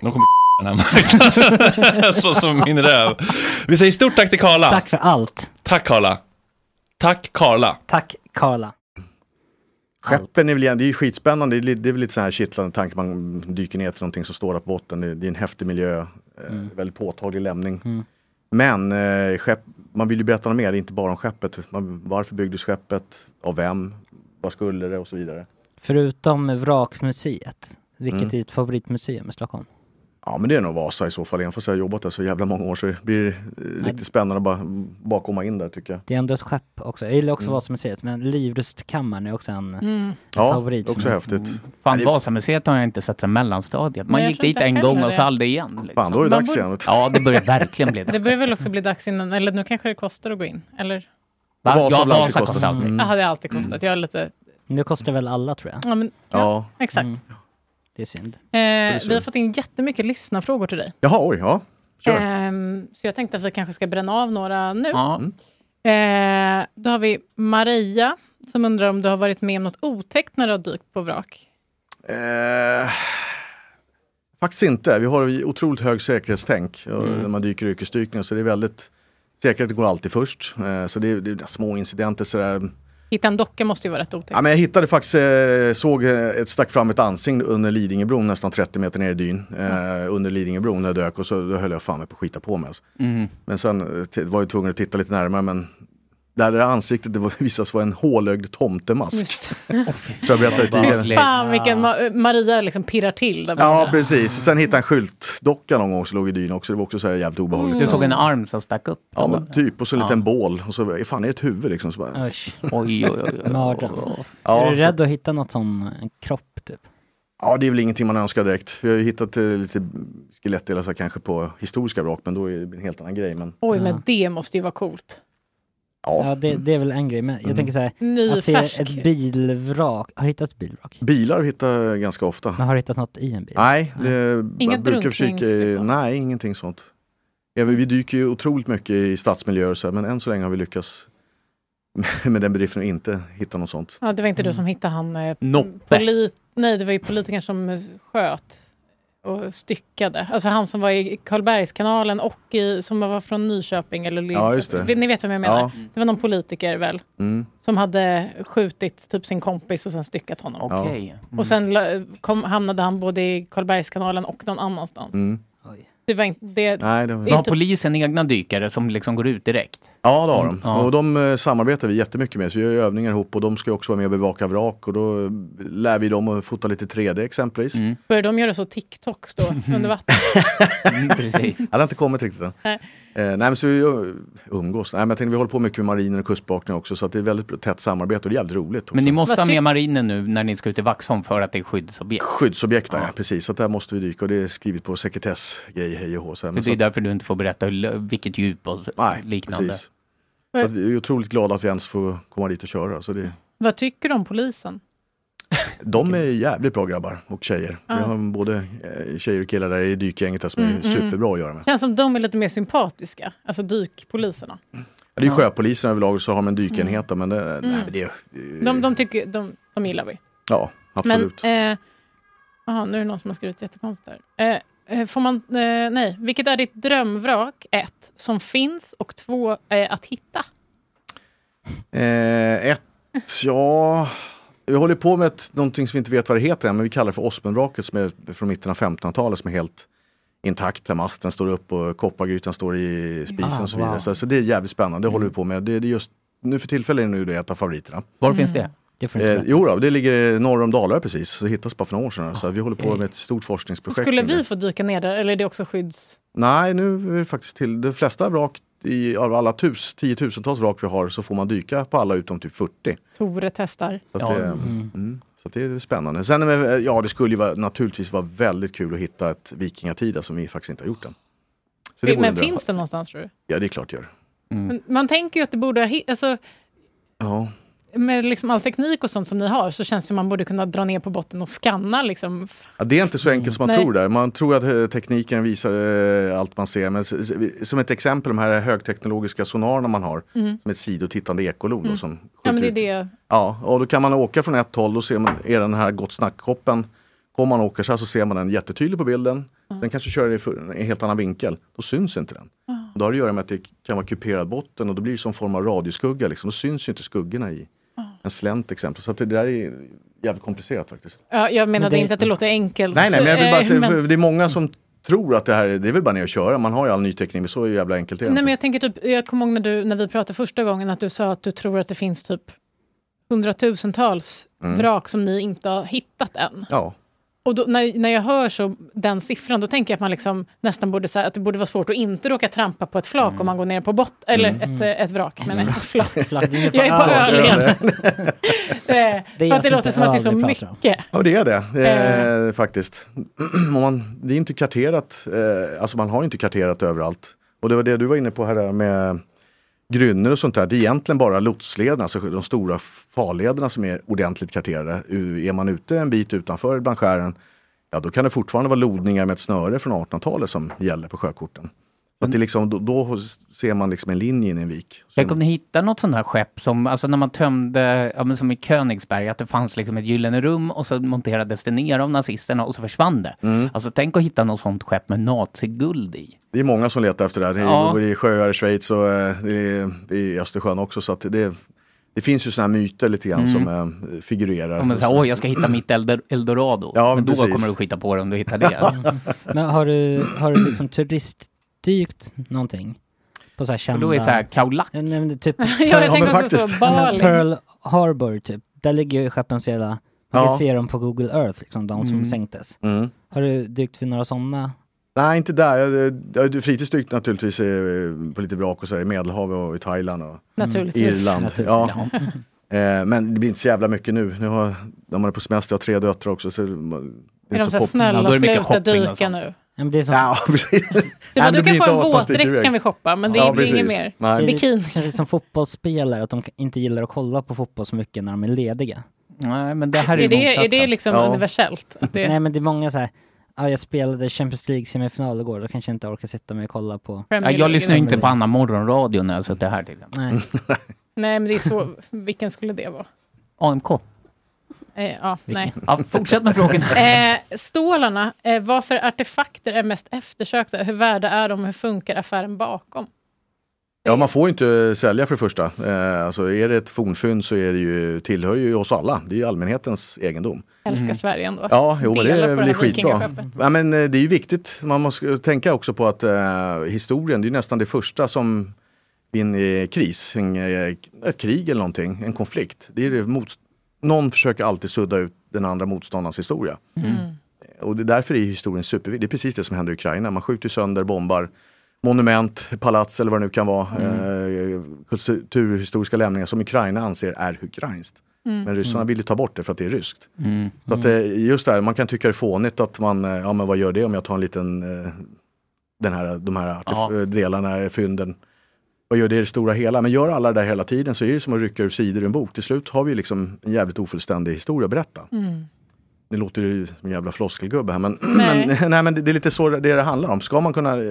De kommer den här marknaden. Så som min röv. Vi säger stort tack till Karla.
Tack för allt.
Tack Karla. Tack Karla.
Tack Karla.
Skeppen är väl igen, det är ju skitspännande. Det är, li- det är väl lite så här kittlande tanke. Man dyker ner till någonting som står där på botten. Det, det är en häftig miljö. eh,
Mm.
Väldigt påtaglig lämning. Men eh, skepp, man vill ju berätta något mer, inte bara om skeppet. Man, varför byggdes skeppet? Av vem? Vad skulle det? Och så vidare.
Förutom Vrakmuseet, vilket
Mm.
är ett favoritmuseum i Stockholm.
Ja men det är nog Vasa i så fall. Även fast jag har jobbat där så jävla många år så det blir eh, riktigt spännande att bara, bara komma in där tycker jag.
Det är ändå ett skepp också. Jag gillar också
Mm.
Vasamuseet, men Livrustkammaren är också en,
Mm.
en
Ja,
favorit. för
också
mig.
häftigt.
Mm. Fan, Vasamuseet har jag inte sett sedan mellanstadiet. Man
Nej, jag
gick
tror
dit
inte
en
heller
gång och så
det.
aldrig igen. Liksom.
Fan, då är det
Man
dags
borde-
igen.
Ja, det börjar verkligen bli det.
Det börjar väl också bli dags innan, eller nu kanske det kostar att gå in? Eller?
Va?
Vasa
Ja,
har väl alltid
Vasa
kostat.
kostar alltid.
Mm.
Jaha, det har alltid kostat. Jag är lite...
Nu kostar väl alla tror jag.
Ja, men,
Ja. Mm.
exakt.
Mm. Det är synd.
Eh,
synd.
vi har fått in jättemycket lyssnarfrågor till dig.
Jaha, oj, ja. Kör.
Ehm, så jag tänkte att vi kanske ska bränna av några nu.
Ja.
Mm.
Eh, då har vi Maria som undrar om du har varit med om något otäckt när du har dykt på vrak.
Eh, faktiskt inte. Vi har ju otroligt hög säkerhetstänk och
Mm.
när man dyker i yrkesdykning. Så det är väldigt, säkerheten går alltid först. Eh, så det är, det är små incidenter sådär.
Hitta en docka måste ju vara rätt otäckt.
Ja, men jag hittade faktiskt, eh, såg eh, ett stack fram ett ansikte under Lidingöbron nästan 30 meter ner i dyn. Eh,
Mm.
Under Lidingöbron när jag dök och så då höll jag fan mig på att skita på mig. Alltså.
Mm.
Men sen eh, t- var jag tvungen att titta lite närmare men Där det ansiktet det var- visade sig vara en hålögd tomtemask.
Just.
Tror jag berättade tidigare.
Fan vilken ma- Maria liksom pirrar till där
Ja,
borta.
precis. Sen hittade jag en skyltdocka någon gång som låg i dyn också. Det var också så här jävligt obehagligt.
Mm.
Du såg en arm som stack upp?
Ja, men typ. Och så en liten
Ja.
bål. Och så, fan är det ett huvud liksom? Så bara,
Usch.
Oj, oj, oj.
Mördaren.
Ja,
är du
så-
rädd att hitta något som en kropp typ?
Ja, det är väl ingenting man önskar direkt. Vi har ju hittat eh, lite skelettdelar så här, kanske på historiska vrak, men då är det en helt annan grej. Men,
Oj, men det måste ju vara
ja.
coolt.
Ja, det, det är väl en grej. Men jag
Mm.
tänker så här,
Ny,
att se
färsk.
ett bilvrak. Har du hittat ett bilvrak?
Bilar hittar jag ganska ofta.
Men har du hittat något i en bil?
Nej, det
Inga
jag brukar
drunknings-
försöka, Nej, ingenting sånt. Ja, vi, vi dyker ju otroligt mycket i stadsmiljöer, så här, men än så länge har vi lyckats med- med den bedriften att inte hitta något sånt.
Ja, det var inte du som hittade han... eh,
Mm. Noppe.
Polit... Nej, det var ju politikern som eh, sköt och styckade. Alltså han som var i Karlbergskanalen och i, som var från Nyköping eller Linköping.
just det.
Ni vet vem jag menar?
Ja.
Det var någon politiker väl?
Mm.
Som hade skjutit typ sin kompis och sen styckat honom.
Ja. Okej.
Och sen la- kom, hamnade han både i Karlbergskanalen och någon annanstans.
Mm.
Det var inte... Det,
Men
det är
Har
typ-
polisen egna dykare som liksom går ut direkt?
Ja, det har de.
Mm, Ja.
Och de eh, samarbetar vi jättemycket med. Så vi gör ju övningar ihop och de ska ju också vara med och bevaka vrak. Och då eh, lär vi dem att fota lite 3D exempelvis.
Börjar de göra så TikToks då, under vatten?
precis.
Ja, det har inte kommit riktigt än.
Nej.
Eh, nej, men så vi eh, umgås. Nej, men jag tänkte, vi håller på mycket med marinen och kustbevakningen också. Så att det är väldigt tätt samarbete och det är jävligt roligt. Också.
Men ni måste
Vad
ha
ty-
med marinen nu när ni ska ut i Vaxholm för att det är skyddsobjekt.
Skyddsobjekt, ja. precis. Så att där måste vi dyka och det är skrivet på sekretessgrej, hej och hå. Så här,
Så
men
det
så
är
att-
därför du inte får berätta hur lö- vilket djup och så- liknande.
precis. Så att vi är otroligt glada att vi ens får komma dit och köra. Så det,
Vad tycker du om polisen?
de är jävligt bra grabbar och tjejer.
Ja.
Vi har både eh, tjejer och killar där i dykgänget här som
Mm,
är
mm.
superbra att göra med.
Känns som de är lite mer sympatiska, alltså dykpoliserna.
Ja, Det är sjöpolisen överlag så har man en dykenhet då, men det,
Mm.
nej, men det är...
De, de, tycker, de, de gillar vi.
Ja, absolut.
Men, eh, aha, nu är det någon som har skrivit jättekonstigt där. Eh, eh, får man, eh, nej. Vilket är ditt drömvrak? Ett, som finns och två, eh, att hitta.
Eh, ett, ja... Vi håller på med ett, någonting som vi inte vet vad det heter än, men vi kallar det för Osmenvraket som är från mitten av 1500-talet som är helt intakt. Där masten står upp och koppargrytan står i spisen
Ah,
och så vidare.
wow. Mm.
Så, så det är jävligt spännande, det håller vi på med. Det, det är just, nu för tillfället är det nu det är ett av favoriterna.
Var finns det?
Det får
Eh, jo, då, det ligger norr om Dalarö precis, det hittades bara för några år sedan. Så vi håller på med ett stort forskningsprojekt.
Skulle
kring det.
vi få dyka ner där, eller är det också skydds...
Nej, nu är det faktiskt till. De flesta vrak, i, av alla tus, tiotusentals vrak vi har, så får man dyka på alla utom typ 40.
Tore testar.
Så, att det, mm, så att det är spännande. Sen, är det- ja, det skulle ju vara, naturligtvis vara väldigt kul att hitta ett vikingatida som vi faktiskt inte har gjort än. Så vore en
Men
dröm.
finns det någonstans tror du?
Ja, det är klart det gör.
Men Man tänker ju att det borde... ha hi- Alltså,
Ja.
med liksom all teknik och sånt som ni har så känns det som man borde kunna dra ner på botten och skanna. Liksom.
Ja, det är inte så enkelt som man
Nej.
tror där. Man tror att eh, tekniken visar eh, allt man ser. Men s- s- som ett exempel, de här högteknologiska sonarerna man har,
Mm.
som ett sidotittande ekolod då, som
Ja,
skjuter
men det är
ut
det.
Ja, och då kan man åka från ett håll, då ser man, är den här Gott snack-koppen. Kommer man och åker så här så ser man den jättetydlig på bilden.
Mm.
Sen kanske kör det i för- i en helt annan vinkel. Då syns inte den.
아.
Och Då har det att göra med att det kan vara kuperad botten och då blir det som form av radioskugga. Liksom. Då syns ju inte skuggorna i en slänt exempel. Så att det där är jävligt komplicerat faktiskt.
Ja, jag menade
Men det-
inte att det låter enkelt.
Nej, nej, men jag vill
Eh,
bara säga,
men-
för det är många som tror att det här är- det är väl bara ner och köra. Man har ju all ny teknik, men så jävla enkelt är det
Nej,
inte.
men jag tänker typ, jag kommer ihåg när, du, när vi pratade första gången att du sa att du tror att det finns typ hundratusentals
Mm.
vrak som ni inte har hittat än.
Ja.
Och då, när, när jag hör så, den siffran, då tänker jag att man liksom nästan borde säga att det borde vara svårt att inte råka trampa på ett flak
Mm.
om man går ner på botten, eller ett, eh, ett vrak, men ett flak. jag är på öl igen. Eh,
Det är
för att det
alltså
låter
inte
som att det är så
öl vi pratar om.
mycket.
Ja, det är det eh, faktiskt. Om man, det är inte karterat, eh, alltså man har ju inte karterat överallt. Och det var det du var inne på här med grynnor och sånt där. Det är egentligen bara lotslederna, alltså de stora farlederna som är ordentligt karterade. U- Är man ute en bit utanför bland skären, ja då kan det fortfarande vara lodningar med ett snöre från 1800-talet som gäller på sjökorten. Så att det är liksom, då, då ser man liksom en linje in i en vik.
Tänk om ni hittar något sånt här skepp som, alltså när man tömde, ja, men som i Königsberg, att det fanns liksom ett gyllene rum och så monterades det ner av nazisterna och så försvann det.
Mm.
Alltså tänk att hitta något sånt skepp med naziguld i.
Det är många som letar efter det här. Det är
Ja.
i sjöar i Schweiz och eh, det är i Östersjön också. Så att det, det finns ju sådana här myter lite grann
Mm.
som eh, figurerar.
Om man säger, åh jag ska hitta mitt eldor- eldorado.
Ja,
men då
precis.
kommer du skita på dig om du
Mm.
hittar det.
Men har du, har du liksom turistdykt någonting? På så här kända...
då är det så här Kaolack?
Nej, men det är typ...
Ja, jag tänkte också så, Bali.
Pearl Harbor typ. Där ligger ju skeppens hela... Man
Ja.
kan se dem på Google Earth, liksom, de som
Mm.
sänktes.
Mm.
Har du dykt vid några sådana?
Nej, inte där. Jag, jag, jag fritidsdykt naturligtvis eh, på lite vrak och så här, i Medelhavet och i Thailand och
Naturligtvis.
Irland. Ja.
Naturligtvis,
Eh, Men det blir inte så jävla mycket nu. Nu har när man är på semester, jag har tre döttrar också. Så det är
Är de så här, snälla sluta dyka nu.
Men det är som...
Ja, precis.
Du, bara, du kan få en våtdräkt kan vi shoppa, men det
Ja,
blir inget
precis.
mer.
Det är
Bikini.
kanske som fotbollsspelare, att de inte gillar att kolla på fotboll så mycket när de är lediga.
Nej, men det här är ju
Är det- är motsatsen. det liksom universellt? Att det-
Nej, men det är många så här, ja, jag spelade Champions League semifinal igår, då kanske jag inte orkar sitta med och kolla på...
Ja, jag lyssnar ju inte på annan morgonradio när jag sitter här till exempel.
Nej.
Nej, men det är så. Vilken skulle det vara?
AMK.
Eh, ja, nej.
Ja, fortsätt med frågorna.
Eh, stålarna, eh, vad för artefakter är mest eftersökta? Hur värda är de? Hur funkar affären bakom?
Ja, man får ju inte sälja för det första. Eh, Alltså är det ett fornfynd så är det ju, tillhör ju oss alla. Det är ju allmänhetens egendom.
Jag älskar
Mm.
Sverige ändå.
Ja, jo, men det
Delar på
är väl
här
skitbra.
vikingaskeppet.
Ja, men eh, det är ju viktigt. Man måste tänka också på att eh, historien, det är ju nästan det första som i en eh, kris, en, eh, ett krig eller någonting, en konflikt. Det är det motst- Någon försöker alltid sudda ut den andra motståndarens historia.
음.
Och det är därför är historien superviktig. Det är precis det som händer i Ukraina. Man skjuter sönder, bombar monument, palats eller vad det nu kan vara. Eh, kulturhistoriska lämningar som Ukraina anser är ukrainskt.
Mm.
Men ryssarna
Mm.
vill ju ta bort det för att det är ryskt.
Mm.
Så att, eh, just det här, man kan tycka det är fånigt att man, eh, ja men vad gör det om jag tar en liten, eh, den här, de här artef- delarna, eh, fynden. Vad gör det i det stora hela? Men gör alla det där hela tiden så är det ju som att rycka ur sidor i en bok. Till slut har vi liksom en jävligt ofullständig historia att berätta.
음.
Mm.
Det låter ju som en jävla floskelgubbe här men,
Nej.
men, nej, men det det är lite så det det handlar om. Ska man kunna eh,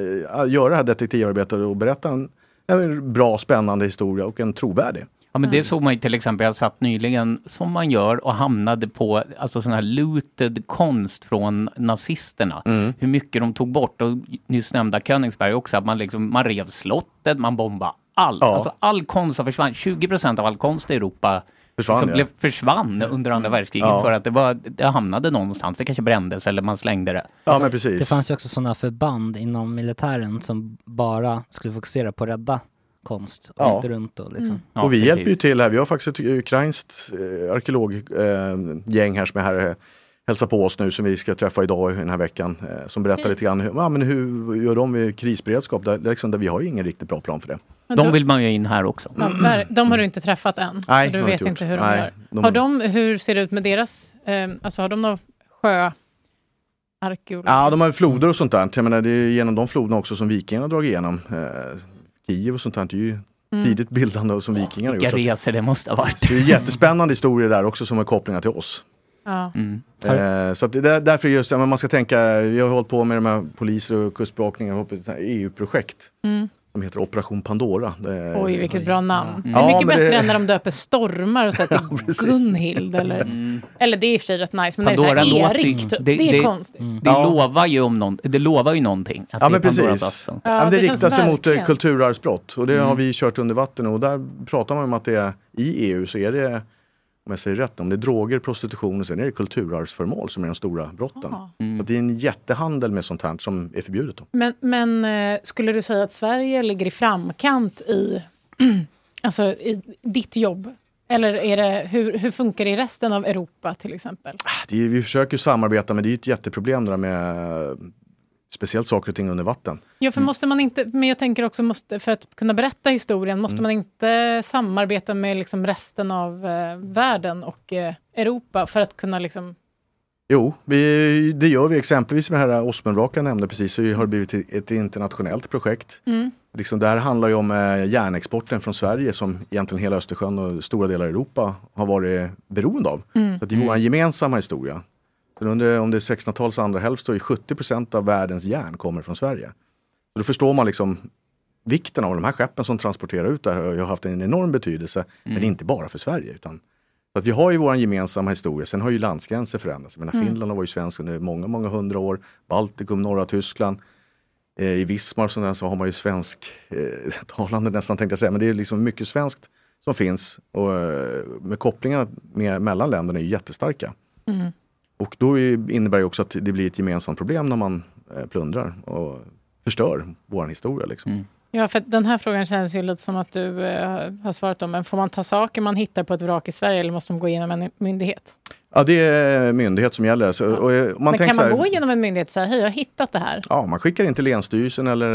göra det här detektivarbetet och berätta en, en bra spännande historia och en trovärdig.
Ja, men
Mm.
det såg man ju till exempel, jag satt nyligen, som man gör, och hamnade på alltså, sån här looted konst från nazisterna.
Mm.
Hur mycket de tog bort, och nyss nämnda Königsberg också, att man, liksom, man rev slottet, man bombade allt.
Ja.
Alltså, all konst som försvann, 20 procent av all konst i Europa
Försvann,
liksom
ja. Mm.
blev, försvann under andra världskriget
Ja.
för att det, var, det hamnade någonstans. Det kanske brändes eller man slängde det.
Ja men precis.
Det fanns ju också sådana förband inom militären som bara skulle fokusera på att rädda konst och
Ja.
inte runt och liksom.
och vi hjälper ju till här. Vi har faktiskt ett ukrainskt eh, arkeologgäng här som är här och hälsar på oss nu som vi ska träffa idag i den här veckan. Eh, som
Mm.
berättar lite grann hur, ja, men hur gör de vid krisberedskap. Där, där liksom, där vi har ju ingen riktigt bra plan för det.
Men De då- vill
man ju in här också.
Ja, där, de har du inte träffat än,
Nej,
så
det
du
har jag
vet
inte
inte
gjort.
hur de
Nej,
gör.
de-
Har de, hur ser det ut med deras, eh, alltså har de någon sjö... Arkeolog.
Ja, de har ju floder och sånt där. Jag menar, det är genom de floderna också som vikingarna har dragit igenom. Eh, Kiev och sånt där, det är ju
Mm.
tidigt bildande som vikingarna har
Vilka
gjort. Så att-
resor det måste ha varit.
så det är jättespännande historier där också som har kopplingar till oss.
Ja.
Eh, så att det där, därför är just det, men man ska tänka, vi har hållit på med de här poliser och kustbevakningen, och ett sånt här EU-projekt
Mm.
som heter Operation Pandora. Det-
Oj, vilket bra namn.
Eh, Ja.
Det är
Ja,
mycket
men det-
bättre än när de döper stormar och så här till Gunhild. Eller,
Mm.
eller det är i och för sig rätt nice, men det är så här
låter-
Erik, typ.
det, mm.
det, är konstigt.
Det lovar ju, om någon, det lovar ju någonting. att
mm. Ja
det
men
är Pandoras
precis.
ask.
Ja, men det
det
riktar
känns
sig mot eh,
verkligen.
kulturarvsbrott och det
Mm.
har vi kört under vatten och där pratar man om att det är, i EU så är det, om jag säger rätt, om det är droger, prostitution och sen är det kulturarvsföremål som är de stora brotten.
Ah.
Mm.
Så att det är en jättehandel med sånt här som är förbjudet. Då.
Men, men eh, skulle du säga att Sverige ligger i framkant i, alltså, i ditt jobb? Eller är det, hur, hur funkar det i resten av Europa till exempel?
Ah, Det är, vi försöker ju samarbeta men det är ju ett jätteproblem det där med eh, speciellt saker och ting under vatten.
Ja, för måste man inte, men jag tänker också, måste, för att kunna berätta historien, måste
Mm.
man inte samarbeta med liksom resten av eh, världen och eh, Europa för att kunna liksom...
Jo, vi, det gör vi exempelvis med det här Osmanvraket jag nämnde precis, så har det blivit ett internationellt projekt.
Mm.
Liksom, det här handlar ju om eh, järnexporten från Sverige som egentligen hela Östersjön och stora delar av Europa har varit beroende av.
Mm.
Så att det är vår gemensamma historia. Så under, om det är 1600-talets andra hälft så är 70 procent av världens järn kommer från Sverige. Så då förstår man liksom vikten av de här skeppen som transporterar ut det här har ju haft en enorm betydelse, men inte bara för Sverige. Utan, så att vi har ju vår gemensamma historia, sen har ju landsgränser förändrats. Jag menar,
Mm.
Finland har varit svenskt under många, många hundra år, Baltikum, norra Tyskland. Eh, I Vismar som den så har man ju svensk eh, talande nästan tänkte jag säga, men det är liksom mycket svenskt som finns och eh, med kopplingarna med, mellan länderna är ju jättestarka.
Mm.
Och då är- innebär det också att det blir ett gemensamt problem när man eh, plundrar och förstör vår historia. Liksom.
Ja, för att den här frågan känns ju lite som att du eh, har svarat om. Men får man ta saker man hittar på ett vrak i Sverige eller måste de gå igenom en myndighet?
Ja, det är myndighet som gäller. Så, och, eh, om man
men
tänker
kan
så
man
här,
gå igenom en myndighet och säga hej, jag har hittat det här?
Ja, man skickar in till Länsstyrelsen eller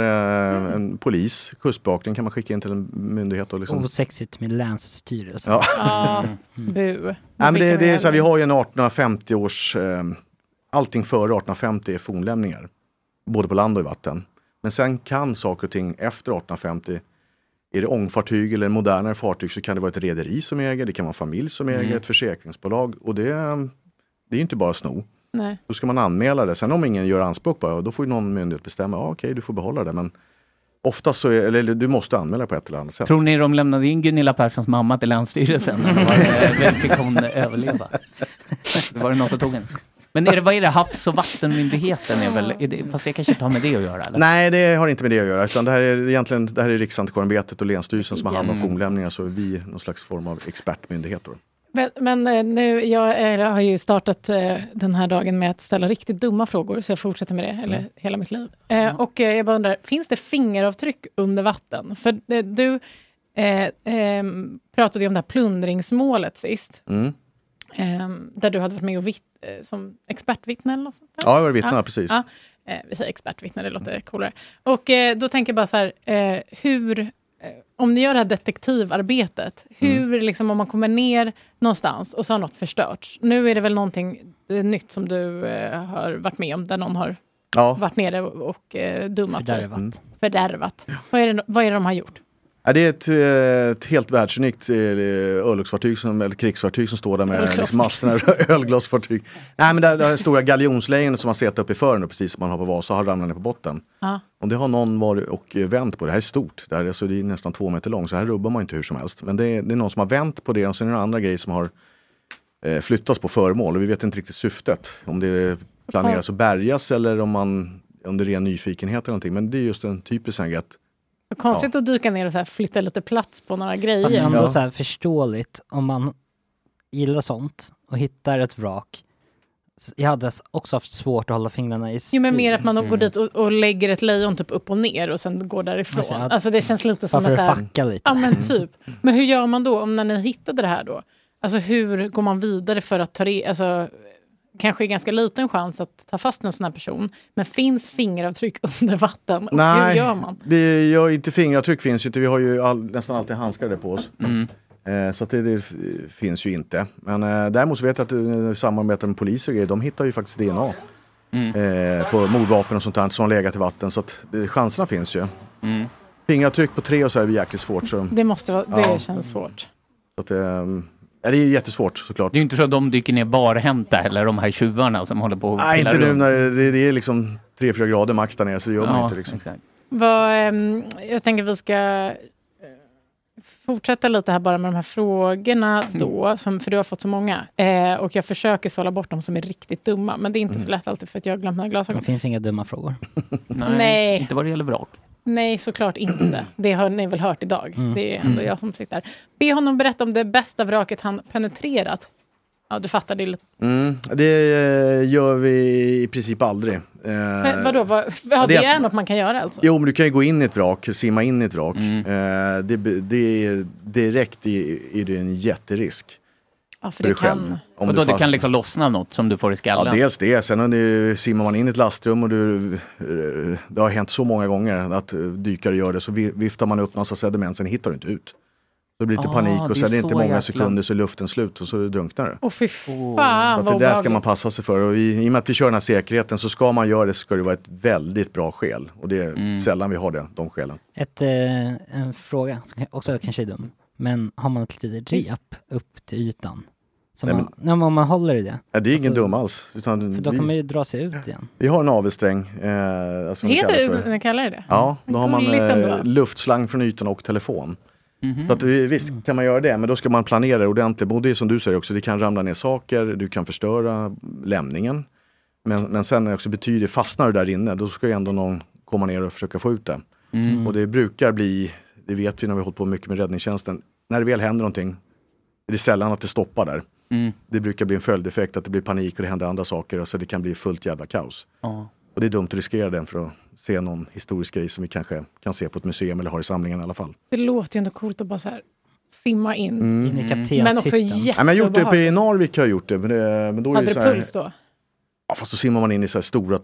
eh,
Mm.
en polis, kustbevakningen kan man skicka in till en myndighet. Och liksom...
Osexigt med länsstyrelsen.
Ja.
Ja,
Mm.
bu.
Nej, men det,
Vilken
det är så här, vi
jävla-
har ju en 1850 års... Eh, allting före 1850 är fornlämningar. Både på land och i vatten. Men sen kan saker och ting efter 1850 är det ångfartyg eller modernare fartyg så kan det vara ett rederi som äger, det kan vara en familj som äger,
Mm.
ett försäkringsbolag. Och det, det är ju inte bara att sno.
Nej.
Då ska man anmäla det. Sen om ingen gör anspråk på det, då får ju någon myndighet bestämma, ja, okej du får behålla det. Men oftast så är, eller du måste anmäla på ett eller annat sätt.
Tror ni de lämnade in Gunilla Perssons mamma till Länsstyrelsen? Eller var det- eller Fick hon överleva? Var det någon som tog henne? Men är det, vad är det? Havs och vattenmyndigheten? Är väl, är det, fast det kanske inte har med det att göra? Eller?
Nej, det har inte med det att göra. Utan det här är egentligen det här är Riksantikvarieämbetet och Länsstyrelsen som har hand om
Mm.
fornlämningar. Så är vi någon slags form av expertmyndighet. Då.
Men, men eh, nu, jag eh, har ju startat eh, den här dagen med att ställa riktigt dumma frågor, så jag fortsätter med det eller
Mm.
hela mitt liv. Eh, och eh, jag bara undrar, finns det fingeravtryck under vatten? För eh, du eh, ehm, pratade ju om det här plundringsmålet sist,
Mm.
ehm, där du hade varit med och vitt, eh, som expertvittne eller något sånt där?
Ja, jag var vittne, precis.
ja. Eh, vi säger expertvittne, det låter coolare. Och eh, då tänker jag bara så här, eh, hur, eh, om ni gör det här detektivarbetet,
Mm.
hur, liksom, om man kommer ner någonstans och så har något förstörts. Nu är det väl någonting eh, nytt som du eh, har varit med om, där någon har
Ja.
varit nere och, och eh, dummat
Fördärvat. Mm.
sig. Fördärvat. Vad, är det, vad är det de har gjort?
Ja, det är ett, eh, ett helt världsunikt eh, örlogsfartyg, som, eller krigsfartyg som står där med
Ölglasfartyg.
liksom masterna. Ölglasfartyg. Nej, men det, här- det här stora galjonslejonet som har sett upp i fören, precis som man har på Vasa, har ramlat ner på botten.
Ja.
Om det har någon varit och eh, vänt på, det här är stort, det här är, så det är nästan två meter långt, så här rubbar man inte hur som helst. Men det är, det är någon som har vänt på det och sen är det några andra grejer som har eh, flyttats på föremål och vi vet inte riktigt syftet. Om det planeras att bärgas eller om, man, om det är ren nyfikenhet eller någonting. Men det är just en typisk sån här grej att
Så Konstigt att dyka ner och så här flytta lite plats på några grejer.
Fast ändå så här förståeligt om man gillar sånt och hittar ett vrak. S- Jag hade s- också haft svårt att hålla fingrarna i styr.
Jo, men mer att man går dit och, och lägger ett lejon typ upp och ner och sen går därifrån.
Alltså,
Alltså,
att-
det känns lite som
Bara för
så
att
här-
fucka lite.
Ja, men typ. Men hur gör man då, om när ni hittade det här då? Alltså hur går man vidare för att ta det, alltså kanske är ganska liten chans att ta fast en sån här person, men finns fingeravtryck under vatten? Och hur gör man?
Det gör inte fingeravtryck finns ju inte. Vi har ju all, nästan alltid handskar där på oss. Eh, så att det, det f- finns ju inte. Men eh, däremot så vet jag att eh, samarbetar med polis och grejer, de hittar ju faktiskt DNA.
Mm.
Eh, på mordvapen och sånt där som har legat i vatten. Så att eh, chanserna finns ju. Fingeravtryck på tre och så är det jäkligt svårt. Så,
Det måste vara, det
Ja.
känns svårt.
så att, eh, ja, det är jättesvårt såklart.
Det är ju inte så att de dyker ner barhänta eller de här tjuvarna som håller på och
Nej,
pillar
inte nu
runt.
när det, det, det är liksom 3-4 grader max där nere så det gör man
Ja,
inte. Liksom.
Vad, ehm, jag tänker vi ska eh, fortsätta lite här bara med de här frågorna då, som, för du har fått så många. Eh, och jag försöker sålla bort de som är riktigt dumma, men det är inte så
Mm.
lätt alltid för att jag har glömt mina
Det
glasögon.
finns inga dumma frågor.
Nej, Nej.
inte vad det gäller vrak.
Nej, såklart inte. Det har ni väl hört idag.
Mm.
Det är ändå
Mm.
jag som sitter här. Be honom berätta om det bästa vraket han penetrerat. Ja, du fattar. Det är lite...
Mm, det eh, gör vi i princip aldrig. Eh,
Men vadå? Vad,
det
ja, det
är-
är något man kan göra alltså?
Jo, men du kan ju gå in i ett vrak, simma in i ett vrak.
Mm.
Eh, det, be- det är direkt i, i det en jätterisk.
Ja, för
för
det
dig själv.
kan...
Om
Om då
du
det
fast-
kan liksom lossna av något som du får i
Ja,
skallen?
dels det. Sen om du, simmar man in i ett lastrum och du, eh, det har hänt så många gånger att eh, dykare gör det, så vi- viftar man upp massa sediment, sen hittar du inte ut. Då blir det lite
Ah,
panik
det är
och sen är det inte
så
många
jäkla-
sekunder så är luften slut och så drunknar du.
Åh, fy fan
Oh, Så att
Ah, vad
det där ska
obehagligt.
man passa sig för. Och i, I och med att vi kör den här säkerheten så ska man göra det så ska det vara ett väldigt bra skäl. Och det är
Mm.
sällan vi har det, de skälen.
Ett, eh, en fråga som kan- också kanske är dum. Men har man ett litet
Visst.
rep upp till ytan? Som
Nej,
man, nej, men om man håller i det.
Ja, det är ingen
Alltså,
dum alls. Utan
För då
vi,
kan man ju dra sig ut igen.
vi har en avelsträng. Eh, alltså vad det
Heter
kallas för.
det, ni kallar det det?
Ja, då har man
Gulligt ändå.
eh, luftslang från ytan och telefon.
Mhm.
Så att, vi- visst kan man göra det, men då ska man planera det ordentligt. Och det är som du säger också, det kan ramla ner saker, du kan förstöra lämningen. Men, men sen är det också betyder, fastnar du där inne, då ska ju ändå någon komma ner och försöka få ut det.
Mm.
Och det brukar bli, det vet vi när vi har hållit på mycket med räddningstjänsten, när det väl händer någonting, är det sällan att det stoppar där.
Mm.
Det brukar bli en följdeffekt, att det blir panik och det händer andra saker, så det kan bli fullt jävla kaos.
Ja.
Och Och det är dumt att riskera den för att se någon historisk grej som vi kanske kan se på ett museum eller har i samlingen i alla fall.
Det låter ju ändå coolt att bara så här simma in.
Mm.
Men också jätteobehagligt.
Ja, men jag har gjort det uppe i Narvik. Har jag gjort det, men det men då är
Hade
det
du
så här,
puls då?
Ja, fast då simmar man in i så här stora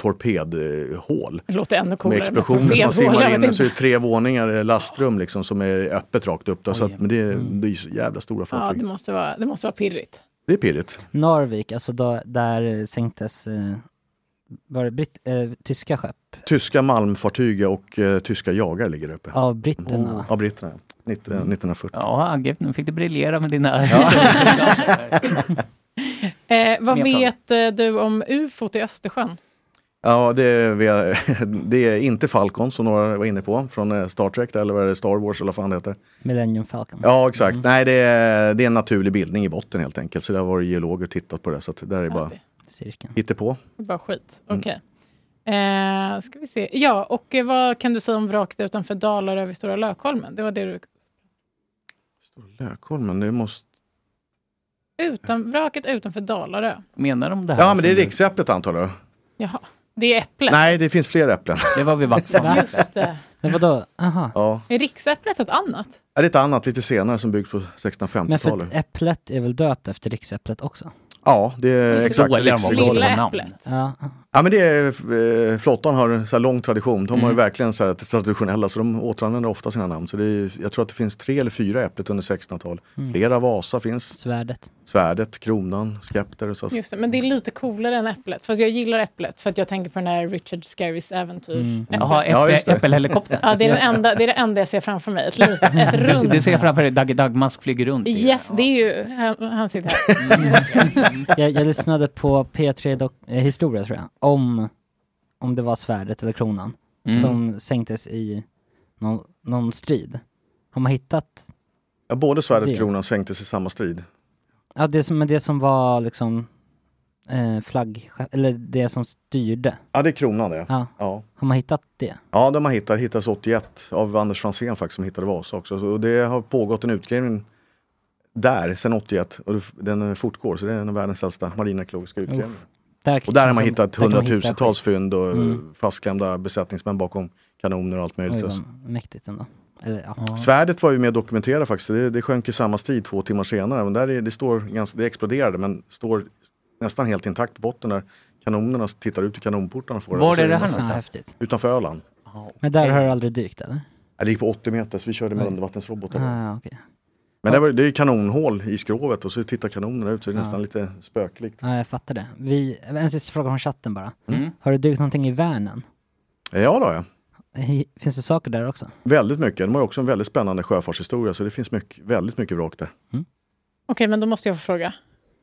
torpedhål.
Det låter ännu coolare.
med
med
explosioner som man
torpedhål, jag
simmar
vet
in i. Så är det
inte.
tre våningar eh, lastrum liksom, som är öppet rakt upp. Då, så att, men det, är- det är ju så jävla stora
Ja,
fartyg.
det måste vara, det måste vara pirrigt.
Det är pirrigt.
Narvik, alltså då, där eh, sänktes eh, var det britt, eh, tyska skepp
Tyska malmfartyg och eh, tyska jagare ligger där uppe.
av britterna.
Mm. Av britterna, ja. 19,
Mm.
1940.
Ja, Agge, nu fick du briljera med dina...
Eh, vad
Mer frågor.
vet eh, du om ufot i Östersjön?
Ja, det är, vi har- det är inte Falcon som några var inne på från eh, Star Trek, där, eller vad är det, Star Wars eller vad fan det heter.
Millennium Falcon.
Ja, exakt.
Mm.
Nej, det är, det är en naturlig bildning i botten helt enkelt. Så där var det geologer tittat på det. Så att där är bara hittepå.
Det är Bara skit.
Mm.
Okej. Eh, ska vi se. Ja, och eh, vad kan du säga om vraket utanför Dalarö vid Stora Lökholmen? Det var det du...
Lökholmen, det måste...
Utan, vraket utanför Dalarö.
Menar de det här?
Ja, men det är riksäpplet antar jag.
Jaha, det är Äpplet.
Nej, det finns fler äpplen.
Det var vi Vaxholm.
Just det.
Men vadå? Aha.
Ja,
Är riksäpplet ett annat?
Ja, det är ett annat lite senare som byggs på
Men för
1650-talet.
Äpplet är väl döpt efter riksäpplet också?
Ja, det är Eh, exakt. Riksregalen.
Ja,
Ja men det är, eh, flottan har så här lång tradition. De har
Mm.
ju verkligen så här traditionella så de återanvänder ofta sina namn. Så det är, jag tror att det finns tre eller fyra Äpplet under 1600-talet.
Mm.
Flera Vasa finns.
Svärdet.
Svärdet, Kronan, Skepter. Så.
Just det, men det är lite coolare än Äpplet. Fast jag gillar Äpplet för att jag tänker på den här Richard Scarys äventyr.
Mm.
Äpplet.
Jaha,
Ja,
äpple,
just det.
äppelhelikopter.
Ja, det är, den enda, det är det enda jag ser framför mig. Ett, litet, ett runt.
Du ser framför dig Dagge Dagmask flyger runt.
Yes, det är ju... Han, han sitter här.
jag, jag lyssnade på P3 dok- eh, Historia tror jag, om, om det var svärdet eller kronan
Mm.
som sänktes i någon, någon strid. Har man hittat?
Ja, både svärdet
Det.
och Kronan sänktes i samma strid.
Ja, det som, men det som var liksom eh, flagg, eller det som styrde.
Ja det är Kronan det.
Ja.
Ja.
Har man hittat det?
Ja, där man hittar, hittades 81 av Anders Franzén faktiskt som hittade Vasa också. Så- Och det har pågått en utgrävning där sedan 81 och den fortgår så det är en av världens äldsta marinarkeologiska utgrävningar.
Där
Och där har
känns
man
som-
hittat
där kan man hitta
hundratusentals fynd och
Mm.
mm. fastklämda besättningsmän bakom kanoner och allt
skit.
möjligt.
Oj,
alltså.
vad mäktigt ändå. Eller, ja.
Svärdet var ju med och dokumenterade faktiskt, det, det sjönk i samma strid två timmar senare. Men där är, det, står ganska, det exploderade men står nästan helt intakt på botten där kanonerna tittar ut i kanonportarna. och får
Var
Och så
är det här
nästan-
någonstans?
Häftigt.
Utanför Öland.
Men där har du aldrig dykt eller?
Ja, Det gick på 80 meter så vi körde med
Oj.
undervattensrobotar. då.
Ah, okej.
Men det, var, det är ju kanonhål i skrovet och så tittar kanonerna ut så det är
Ja.
nästan lite spöklikt.
Ja, jag fattar det. Vi, en sista fråga från chatten bara.
Mm.
Har du dykt någonting i Värnen?
Ja då, ja.
Hi- Finns det saker där också?
Väldigt mycket. De har ju också en väldigt spännande sjöfartshistoria så det finns mycket, väldigt mycket vrak där.
Okej, men då måste jag få fråga.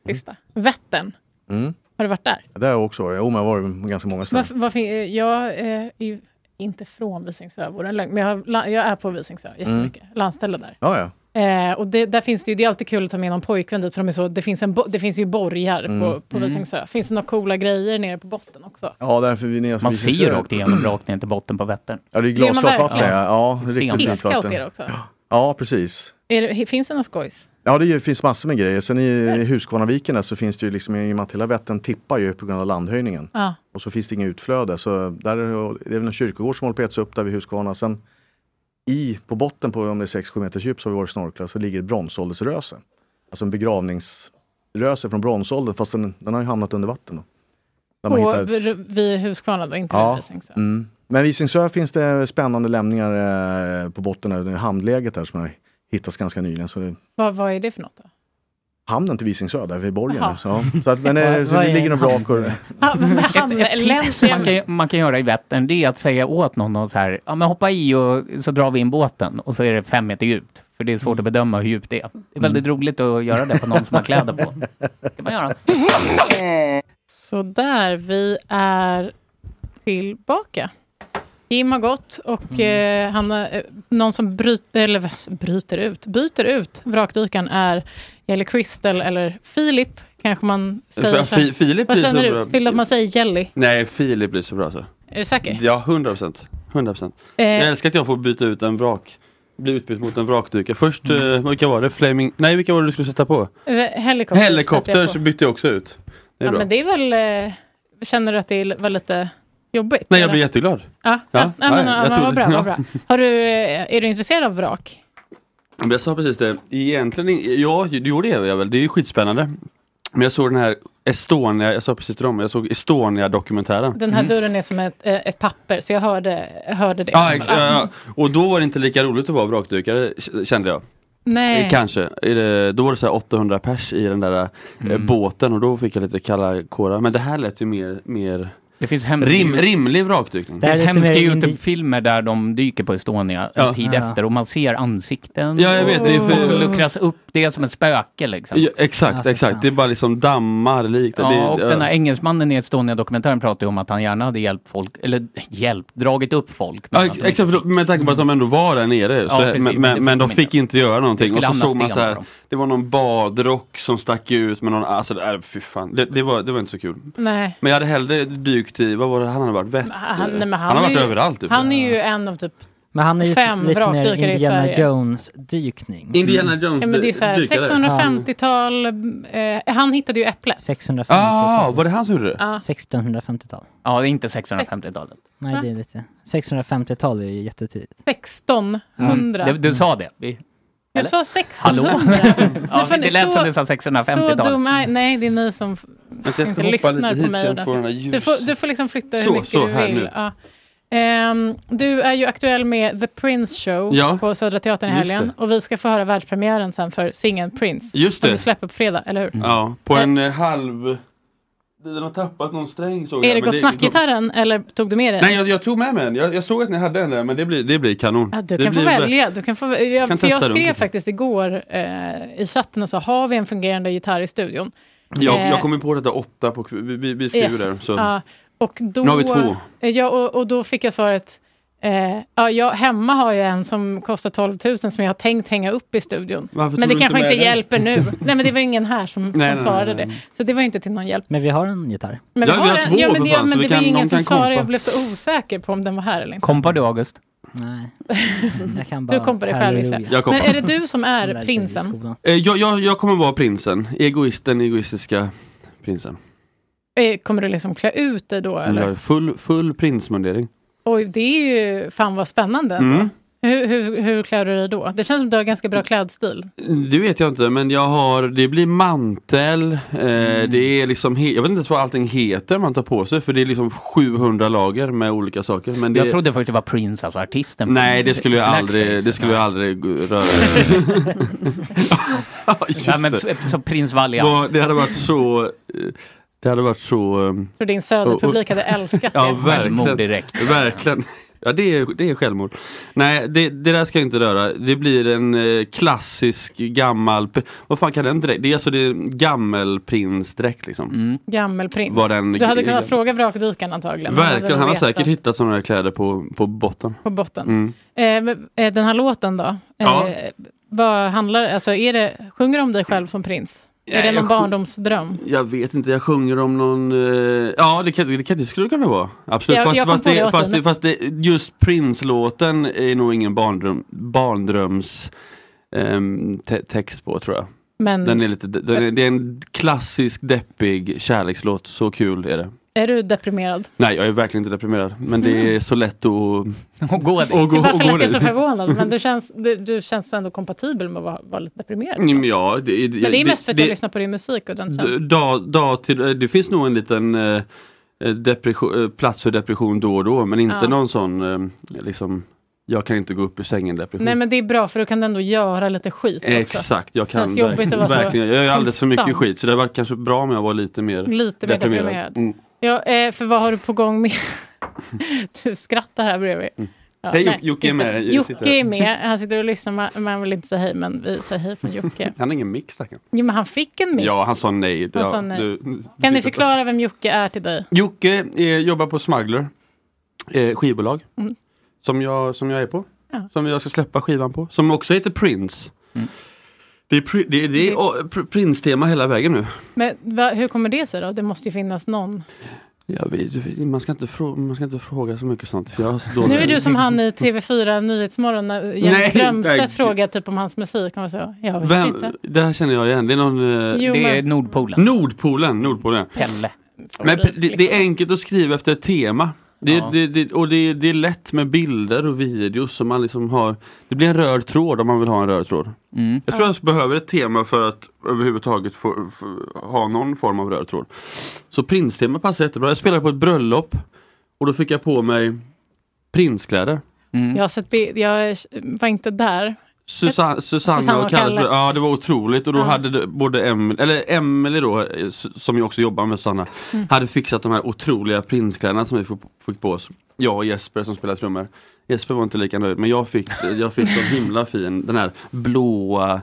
Sista. Vättern,
Mm.
har du varit där?
Där har jag också varit. Jo, men jag har varit på ganska många ställen.
Varför, varför, eh, jag eh, är ju inte från Visingsö, vore en lögn, men jag, har, la- jag är på Visingsö jättemycket. Landställe där.
Mm. Ja, ja.
Eh, och det, där finns det ju, det är alltid kul att ta med någon pojkvän dit, för de är så, det, finns en, bo- det finns ju borgar
Mm.
på, på
Mm.
Visingsö. Finns det några coola grejer nere på botten också?
Ja, därför vi ner
Man
vi
ser ju rakt igenom, rakt ner till botten på Vättern.
Ja, det är
Det gör man
glasklart vatten. Ja,
verkligen.
ja det är riktigt fint
Iskallt är
vatten.
det också.
Ja, precis.
Är det, finns det något skojs?
Ja, det är ju- finns massor med grejer. Sen i, i Huskvarnaviken där så finns det ju liksom, i och med att hela Vättern tippar ju på grund av landhöjningen.
Ja.
Och så finns det inget utflöde. Så där är det, det är väl en kyrkogård som håller på att ätas upp där vid Huskvarna. Sen i, på botten på om det är 6-7 meters djup så har vi varit snorklar, så ligger det bronsåldersröse. Alltså en begravningsröse från bronsåldern, fast den, den har ju hamnat under vatten. Då, Där man
På,
hittar ett-
vid- Vid Huskvarna då, inte vid Visingsö?
Mm. Men Visingsö finns det spännande lämningar eh, på botten, där, det är hamnläget där som har hittats ganska nyligen. Så det,
Vad, vad är det för något då?
hamnen till Visingsö, där vid borgen.
Jaha.
där. Så, ja. så, att, men, eh,
Vad-
så
vad
det
är
ligger
en
några vrak. och-
Ah, Hamn,
Ett tips man kan, man kan göra i Vättern det är att säga åt någon att så här, ja, men hoppa i och så drar vi in båten och så är det fem meter djupt. För det är svårt att bedöma hur djupt det är. Det är väldigt roligt att göra det på någon som har kläder på. kan man göra.
Så där, vi är tillbaka. Jim har gått och
Mm.
eh, han, har- eh, någon som bryter, eller, vad- bryter ut, byter ut vrakdykaren är eller Crystal eller Filip, kanske man säger.
tror
så här.
Fi- Filip
Vad
blir
känner
så
du?
bra.
Vill du att man säger Jelly?
Nej, Filip blir så bra så.
Är du säker?
Ja, 100 procent. 100 procent.
Eh.
Jag älskar att jag får byta ut en vrak. Bli utbytt mot en vrakdykare. Först,
Mm.
eh, vilka var det? Flaming... Nej, vilka var det du skulle sätta på?
Eh, Helikopter. sätter jag
Helikopter
på.
så bytte jag också ut. Det är
ja,
bra.
men det är väl, eh, känner du att det är- var lite Jobbigt?
Nej, jag
eller?
blir jätteglad.
Ja, ja,
Ja,
nej, men,
nej,
ja,
jag
men,
tror
vad bra,
det.
vad bra. Har du, eh, är du intresserad av vrak?
Men jag sa precis det, egentligen, in- ja det- jo det är jag väl, det är ju skitspännande. Men jag såg den här Estonia, jag sa precis till dem, jag såg Estonia-dokumentären.
Den här dörren är som ett, eh, ett papper, så jag hörde, jag hörde det.
Ja, ex- ja, ja. Och då var det inte lika roligt att vara vrakdykare k- kände jag.
Nej.
Eh, Kanske. I det- Då var det så här 800 pers i den där eh, båten och då fick jag lite kalla kårar. Men det här lät ju mer, mer
Det finns hemska-
rim, rimlig vrakdykning.
Det finns hemska Youtube-filmer där de dyker på Estonia
Ja.
en tid
Ja.
efter och man ser ansikten.
Ja, jag vet, det är
och
för-
folk som luckras upp. Det är som ett spöke liksom.
Ja, exakt, exakt. Det är bara liksom dammar likt.
Ja,
det,
och den här engelsmannen i Estonia-dokumentären pratade ju om att han gärna hade hjälpt folk, eller hjälpt, dragit upp folk.
Ja,
men
ex-
att de
exakt, för då- med tanke på att de ändå var där nere.
Ja,
så,
precis,
men,
men det
men, men de
fick de
fick inte göra någonting.
Det
Och så
skulle
såg
hamna
man så
stenar
här,
på
det var någon badrock som stack ut med någon, alltså det, äh, fy fan. Det, det, var, det var inte så kul.
Nej.
Men jag hade hellre dykt i, vad var det han hade varit? Vätt,
Han, nej, men
han, har
är
varit
ju-
överallt. typ.
Han är ju en av typ
Men han är ju
Fem
lite mer
vrakdykare i
Indiana
Sverige.
Jones-dykning. Mm.
Indiana Jones
Ja, men det är så här,
dykare.
650-tal, eh, han hittade ju äpplet.
650
Ah, var det han som gjorde det?
Ja.
1650-tal.
Ja, det är inte 650-talet.
Nej, det är lite... 650-tal är ju jättetidigt.
1600.
Du, du sa det. Vi,
Jag
eller?
sa
Hallå?
1600.
ja,
fan,
det
så-
lät som du sa
Så
650-talet.
dum är, nej, det är ni som f-
jag ska
inte
hoppa lite
lyssnar
hit
på
så
mig.
jag
och
får den här
du, får, du får liksom flytta hur
Så,
mycket
så,
du
här
vill.
nu.
Ja. Ehm, du är ju aktuell med The Prince Show
Ja.
på Södra Teatern i
Just
helgen. Och vi ska få höra världspremiären sen för singeln Prince.
Just
Som
det.
du släpper på fredag, eller
Mm.
hur?
Ja, på en eh, halv... Den har tappat någon sträng såg
Är
jag.
det
men
Gott Snack-gitarren eller tog du med den?
Nej, jag, jag tog med mig en. Jag, jag såg att ni hade en där, men det blir, det blir kanon.
Ja, du
det
kan få
blir,
välja. Du kan få, jag,
Kan
för jag
testa dem.
skrev faktiskt igår eh, i chatten och sa, har vi en fungerande gitarr i studion?
Jag,
Eh,
jag kommer på detta åtta på kv- vi, vi, vi skriver
Yes.
där. Så.
Ja, och då, Eh,
Nu har vi två.
Ja, och, och då fick jag svaret, eh, ja, jag, hemma har jag en som kostar 12 000 som jag har tänkt hänga upp i studion.
Varför tog
men det
du inte
kanske
med
inte
den?
hjälper nu. nej, men det var ingen här som, som
Nej, nej, nej,
svarade
nej,
det. Så det var ju inte till någon hjälp.
Men vi har en gitarr.
Men
Ja, vi har
den-
två
ja, men
för
det,
fan,
ja, men
så
det
vi
var
kan-
ju
någon
ingen som
kan
svarade.
kompa.
Jag blev så osäker på om den var här eller inte.
Kompar du August?
Nej. Jag kan bara...
Du kompar dig själv gissar
Jag
jag. Men
kompar.
är det du som
Som lär
är
sig i
prinsen?
skolan.
Eh, Jag, jag, jag kommer vara prinsen. Egoisten, egoistiska prinsen.
Eh, Kommer du liksom klä ut dig då? Eller?
Eller full, full prinsmundering.
Oj, det är ju fan vad spännande. ändå.
Mm.
Hur, hur, hur klär du dig då? Det känns som du har ganska bra klädstil.
Det vet jag inte, men jag har, det blir mantel, eh,
Mm.
det är liksom, he- jag vet inte ens vad allting heter man tar på sig för det är liksom 700 lager med olika saker. Men det,
Jag trodde först det var Prince, alltså artisten.
Nej,
Prince.
det skulle jag
Blackface.
aldrig, det skulle jag aldrig gå- röra. Ja, just
Nej, men
det.
så- så Prins Valiant.
Vad- Det hade varit så, eh, det hade varit så... eh,
För din söderpublik
och-
hade älskat
Ja,
det.
verkligen. verkligen. Ja, det är, det är självmord. Nej, det, det där ska jag inte röra. Det blir en eh, klassisk gammal... p- Vad fan kan den dräkt? Det är alltså det är en gammelprinsdräkt liksom.
Gammelprins.
Var den-
du hade kunnat fråga vrakdykaren antagligen.
Verkligen, han har
vetat.
säkert hittat sådana där kläder på, på botten.
På botten.
Mm.
Eh, men, eh, den här låten då? Eh,
Ja.
Vad handlar alltså, är det? Sjunger du om dig själv som prins?
Nej,
är det
jag
någon
sjung-
barndomsdröm?
Jag vet inte, jag sjunger om någon... eh, ja, det, kan, det, kan, det skulle det kunna vara. Absolut.
Jag-
fast,
jag kom
fast,
på det
det,
åt
fast,
henne.
det, fast det, just Prince-låten är nog ingen barndröm, barndröms ehm, te- text på tror jag.
Men-
den är lite, den är, det är en klassisk deppig kärlekslåt, så kul är det.
Är du deprimerad?
Nej, jag är verkligen inte deprimerad, men
Mm.
det är så lätt att...
Och gå
dit. Och
det
gå-
är därför
och
lät
gå
jag
dit.
så förvånad. Men du känns, du, du känns ändå kompatibel med att vara, vara lite deprimerad.
Ja, men Mm, ja, det,
men det är mest för att jag
det-
lyssnar på din musik och den
D-
känns...
dag, dag till, eh, det finns nog en liten eh, eh, depression, eh, plats för depression då och då men inte
Ja.
någon sån eh, liksom jag kan inte gå upp ur sängen depression.
Nej men det är bra för då kan du ändå göra lite skit också.
Exakt, jag kan
Känns jobbigt att vara så
verkligen. Jag gör alldeles för mycket
konstant.
skit så det var kanske bra om jag var lite mer
Lite mer deprimerad.
Mm.
Ja, eh, för vad har du på gång med... du skrattar här bredvid. Ja,
Mm. Hej,
nej,
Jocke är
just det.
med. Jag sitter
Jocke
här.
är med. Han sitter och lyssnar. Man, man vill inte säga hej, men vi säger hej från Jocke.
Han har ingen mix stackarn.
Jo, men han fick en mick.
Ja, han sa nej.
Han
ja,
sa nej.
du-
kan ni förklara vem Jocke är till dig?
Jocke eh, jobbar på Smuggler, eh, skivbolag.
Mm.
Som, jag, som jag är på.
Ja.
Som jag ska släppa skivan på. Som också heter Prince. Det är, pri- det, det är åh, pr- Prince-tema hela vägen nu.
Men va, hur kommer det sig då? Det måste ju finnas någon.
Jag vet, man, ska inte frå- man ska inte fråga så mycket sånt. Jag har så dålig-
Nu är du som han i TV4 Nyhetsmorgon när Jens
Nej,
Strömstedt
tack.
frågar typ om hans musik. Han var så, jag vet
Vem,
inte.
det här känner jag igen. Det är någon... eh,
Jo, Det är men-
Nordpolen.
Nordpolen, Nordpolen.
Pelle.
Men p- det, det är enkelt att skriva efter ett tema. Det,
Ja.
det, det, och det, det är lätt med bilder och videos som man liksom har Det blir en röd tråd om man vill ha en röd tråd.
Mm.
Jag tror jag behöver ett tema för att överhuvudtaget få, få, ha någon form av röd tråd. Så prinstema passar jättebra. Jag spelade på ett bröllop och då fick jag på mig prinskläder.
Mm.
Jag, har sett, bi- jag var inte där.
Susanne, Susanne,
Susanne
och
och
Kalle.
Kalle.
Ja, det var otroligt. Och då
Ja.
hade det- både Emelie, eller Emelie då, eh, s- som ju också jobbar med Susanna,
Mm.
hade fixat de här otroliga prinskläderna som vi fick- fick på oss. Jag och Jesper som spelar trummor. Jesper var inte lika nöjd, men jag fick, jag fick så himla fin, den här blåa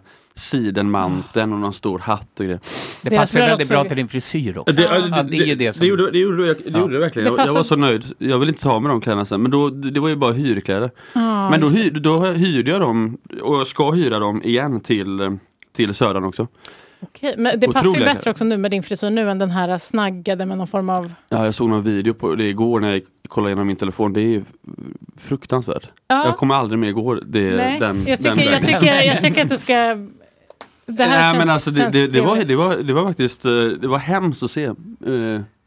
sidenmanteln och någon stor hatt och grejer.
Det passar väldigt bra till din frisyr också.
Det,
ja,
ja,
det är ju det som...
det, gjorde, det, gjorde, jag, det gjorde det verkligen.
Det
jag, jag var
passar-
så nöjd. Jag ville inte ha med de kläderna sen. Men då, det det var ju bara hyrkläder.
Ja,
men då,
just
hyr, då hyrde jag dem och jag ska hyra dem igen till, eh, till Södran också.
Okej, men det passar ju
Otroliga
bättre också nu med din frisyr nu än den här äh, snaggade med någon form av...
Ja, jag såg någon video på det igår när jag kollade igenom min telefon. Det är ju fruktansvärt.
Ja.
Jag kommer aldrig mer gå det,
Nej,
Eh, den
jag,
den
tycker, jag,
vägen.
tycker, jag tycker att du ska... Det här
Nej,
känns,
men alltså det,
känns
det, det, var,
trevligt.
det, var, det var faktiskt eh, det var hemskt att se. Eh,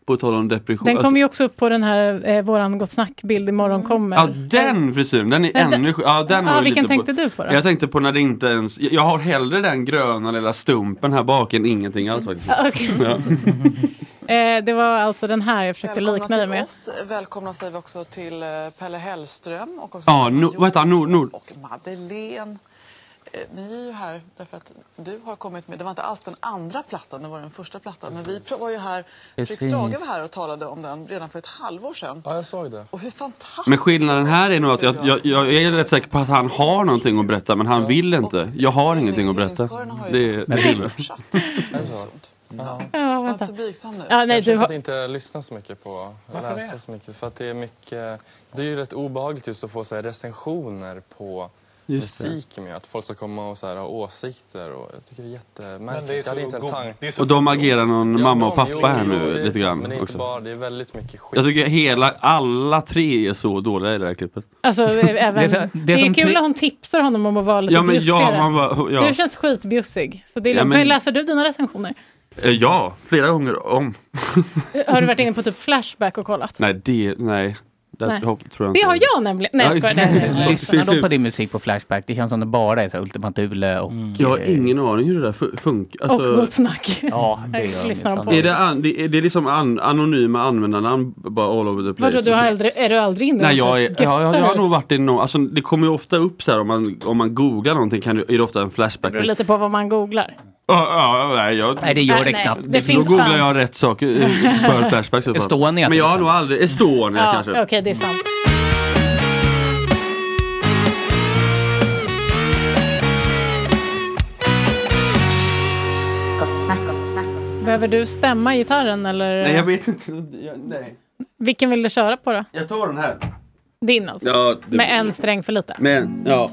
på tal om depression.
Den
Alltså-
kommer ju också upp på den här eh, våran Gott Snack-bild
Mm.
imorgon kommer.
Ja den frisyren, den är
Men den-
ännu sj- ja, den
Ja,
var ju
vilken
lite
tänkte du på då?
Jag tänkte på när det inte ens, jag jag har hellre den gröna lilla stumpen här bak än ingenting alls faktiskt.
Ja, okej.
Ja.
Eh, det var alltså den här jag försökte
Välkomna
likna dig med.
Välkomna säger vi också till eh, Pelle Hellström och också
Ja, no, vad heter han? Nord, nord.
Madeleine. Eh, Ni är ju här därför att du har kommit med, det var inte alls den andra plattan, det var den första plattan. Men vi pr- var ju här,
Precis.
Fredrik Strage var här och talade om den redan för ett halvår sedan. Ja, jag såg det. Och hur fantastiskt.
Men skillnaden här är nog att jag, jag, jag är rätt säker på att han har någonting att berätta men han vill inte. Jag har ingenting att berätta. Det, det är bra.
Ja.
Ja,
Var inte
vänta.
så blygsam nu.
Ja, nej,
jag
du
försöker
har...
att inte lyssna så mycket på
Varför
läsa
det?
så mycket. För att det är mycket, det är ju rätt obehagligt just att få så här recensioner på
Just det.
musik med att folk ska komma och så här ha åsikter och jag tycker det är jättemärkligt.
Men det är
Jag hade
så
inte en
god-
tanke-
det är så
Och de agerar någon
Ja,
mamma och
de-
pappa här
jo, det
nu
är
lite
så,
grann
Men det är inte
också.
bara, det är väldigt mycket skit.
Jag tycker hela, alla tre är så dåliga i det här klippet.
Alltså, eh, även... Det är,
Det är så- det är som
kul
tre-
att hon tipsar honom om att vara lite
Ja, men ja,
bjussigare.
man bara- ja.
Du känns skitbjussig. Så det är
Ja,
lugnt.
men-
men... Läser du dina recensioner?
Eh, Ja, flera gånger om.
Har du varit inne på typ Flashback och kollat?
Nej, det, nej. Det
Nej.
tror jag inte.
Det har jag nämligen. Nej, jag skojar. Det har jag inte.
Lyssnar de på din musik på Flashback? Det känns som det bara är så här Ultima Thule och...
Mm. Jag har ingen aning hur det där fu- funkar.
Och Gott Snack.
Ja, det gör de
lyssnar de på.
Är Alltså, det, an, det, är det liksom an, anonyma användarnamn bara all over the place?
Vadå, du har aldrig, är du aldrig inne?
Nej,
och
jag, är,
typ
jag, jag, jag har
göttar dig?
nog varit i någon, alltså det kommer ju ofta upp så här om man, om man googlar någonting kan det, är det ofta en flashback.
Det beror lite på vad man googlar.
Ja, ja, ja, nej, jag,
Nej, det gör det Nej, knappt. det
Då
finns
googlar
fan.
jag rätt sak eh, för flashback. så fall.
Estonia,
Men
till
jag har
exempel.
nog aldrig, Estonia
Ja,
kanske.
Okej, det är sant.
Gott snack, gott snack.
Behöver du stämma gitarren eller?
Nej jag vet inte, jag, nej.
Vilken vill du köra på då?
Jag tar den här.
Din alltså?
Ja, det-
Med en sträng för lite.
Men, ja.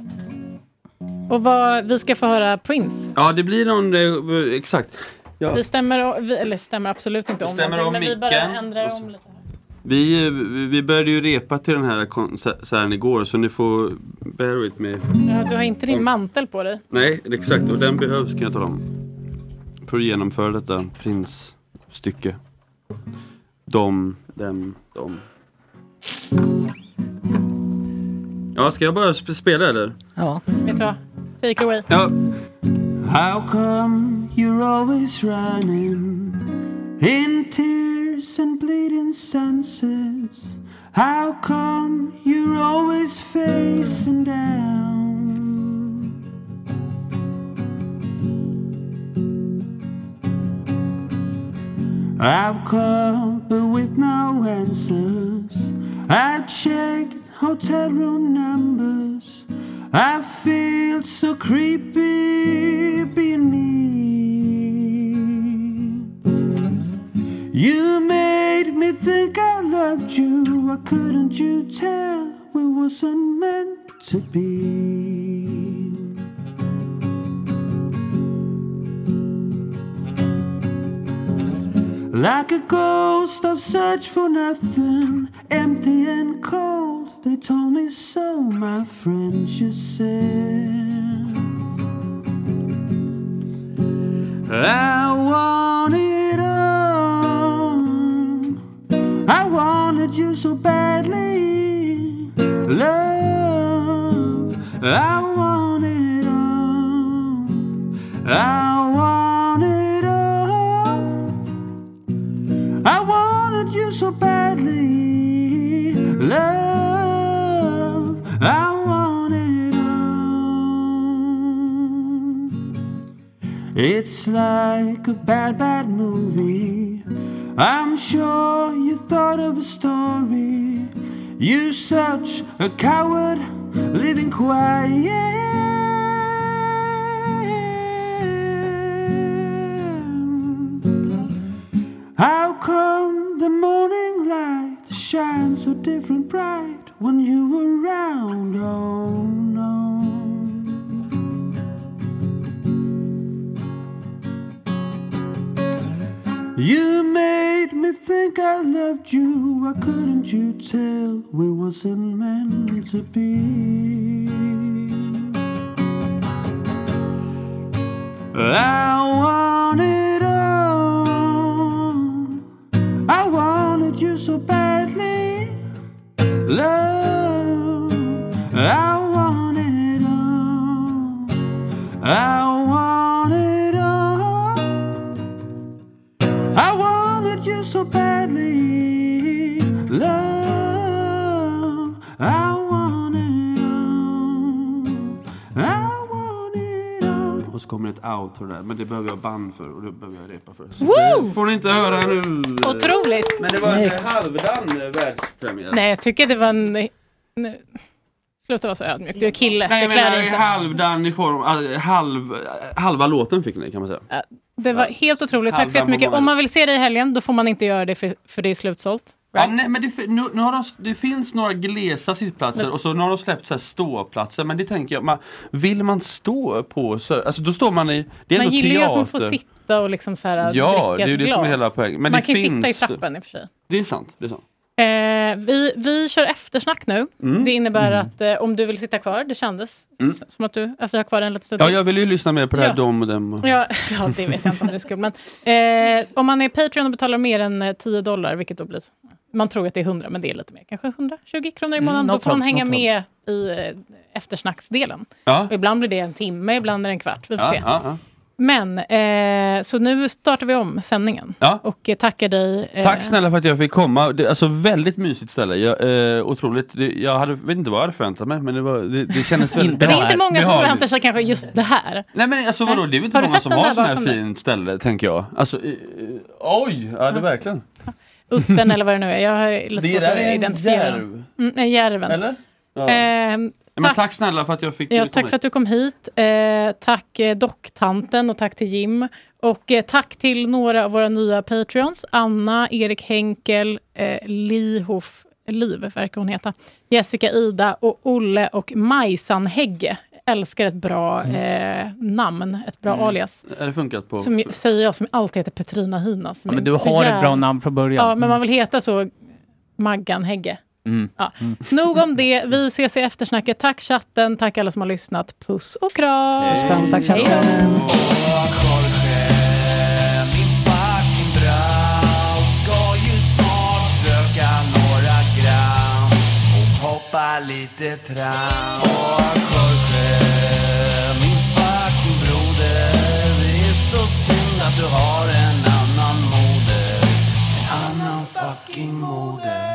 Och vad, vi ska få höra Prince.
Ja det blir någon, eh, exakt. Ja.
Vi stämmer, o- vi, eller stämmer absolut inte
Vi
om
stämmer
någonting,
om
men vi
micken
bara ändrar
och så-
om lite.
Vi, eh, vi- vi började ju repa till den här konserten igår så ni får bear with me.
Ja, du har inte din mantel på dig.
Nej, exakt. Och den behövs kan jag tala om. För att genomföra detta prinsstycke. De, dem, de. Ja, ska jag bara sp- spela eller?
Ja.
Vet du vad? Take it away.
Ja.
How come you're always running in tears and bleeding senses? How come you're always facing down? I've called but with no answers. I've checked hotel room numbers. I feel so creepy being me. You made me think I loved you. Why couldn't you tell we wasn't meant to be? Like a ghost of search for nothing, empty and cold. They told me so, my friend, you said. I want it all. I wanted you so badly.
Mm.
I want it all. I want it all. I wanted you so badly. Love, I want it all. It's like a bad, bad movie. I'm sure you thought of a story. You such a coward living quiet. How come the morning light shines so different bright when you were around? Oh no. You made me think I loved you. Why couldn't you tell we wasn't meant to be? I want it all. I wanted you so badly. Love, I want it all. I want it all. I wanted you so badly. Love, I want it all. I
Och så kommer ett outro där, men det behöver jag band för och det behöver jag repa för. Så
Woo!
Det får ni inte höra nu.
Otroligt!
Men det var en
Snyggt.
halvdan eh, världspremiär.
Nej, jag tycker det var en... Nu. Sluta vara så ödmjuk, du är kille.
Nej,
det
jag
klär dig
menar
inte.
halvdan i form, all- halv, halva låten fick ni kan man säga.
Äh, Det var helt otroligt. Tack så
Halvan på
jättemycket.
månaden.
Om man vill se dig i helgen, då får man inte göra det för, för det är slutsålt.
Ja, nej, men det, fi- nu, nu har de, det finns några glesa sittplatser och så nu har de släppt så här ståplatser. Men det tänker jag, man, vill man stå på så, alltså då står man i, det är
Man
ändå
gillar ju
teater.
att man får sitta och liksom så här,
Ja,
dricka
det är ju
ett
det
glas.
som är hela poängen. Men
man
det
kan ju
finns-
sitta i trappan i och för sig.
Det är sant, det är sant.
Eh, vi, vi kör eftersnack nu.
Mm.
Det innebär
Mm.
att eh, om du vill sitta kvar, det kändes
Mm.
som att, du, att vi har kvar en liten stund.
Ja,
till.
jag vill ju lyssna mer på det här
Ja.
dom och dem.
Ja, ja, det vet jag inte om det är skumt. Men, eh, om man är Patreon och betalar mer än eh, 10 dollar, vilket då blir... Man tror att det är 100, men det är lite mer. Kanske 120 kronor i
Mm,
månaden. då
något
får man
sånt,
hänga
något
med i eh, eftersnacksdelen.
Ja.
Och ibland blir det en timme, ibland är det en kvart. Vi får
Ja,
se.
ja, ja.
Men, eh, så nu startar vi om sändningen.
Ja.
Och eh, tackar dig. eh,
Tack snälla för att jag fick komma. Det, alltså väldigt mysigt ställe. Jag, eh, otroligt. Det, jag hade, vet inte vad jag hade förväntat mig men det, var, det, det kändes väldigt
Det är inte många som
behagligt.
förväntar sig kanske just det här.
Nej men alltså vadå, det är väl inte
Har du
många
sett
som
den
har
där
sådana här
bakom dig?
fint ställe tänker jag. Alltså, eh, eh, oj! Ja, det är verkligen.
Uttern eller vad det nu är. Jag har lite
Det
svårt
där
att
är en
identifiera.
järv.
Mm, en järven.
Eller? Ja.
Ehm,
Men tack snälla för att jag fick
Ja,
komma
tack för att du kom hit. Eh, tack eh, docktanten och tack till Jim. Och eh, tack till några av våra nya Patreons. Anna, Erik Henkel, eh, Lihof, Liv verkar hon heta. Jessica Ida och Olle och Majsan Hägge. Älskar ett bra
Mm.
eh, namn, ett bra
Mm.
alias.
hit. Är det funkat på?
Som ju- säger jag som alltid heter Petrina Hina. Som
Ja, men
är
du
så
har ett
jävla-
bra namn från början.
Ja, men man vill heta så Maggan Hägge.
Mm.
Ja. Nog om det. Vi ses i eftersnacket. Tack chatten, tack alla som har lyssnat. Puss och kram!
Puss och kram, tack chatten.
Hej då.
Ska ju snart röka några gram och hoppa lite tram. Och Jorge, min fucking broder, det är så synd att du har en annan moder. En annan fucking moder.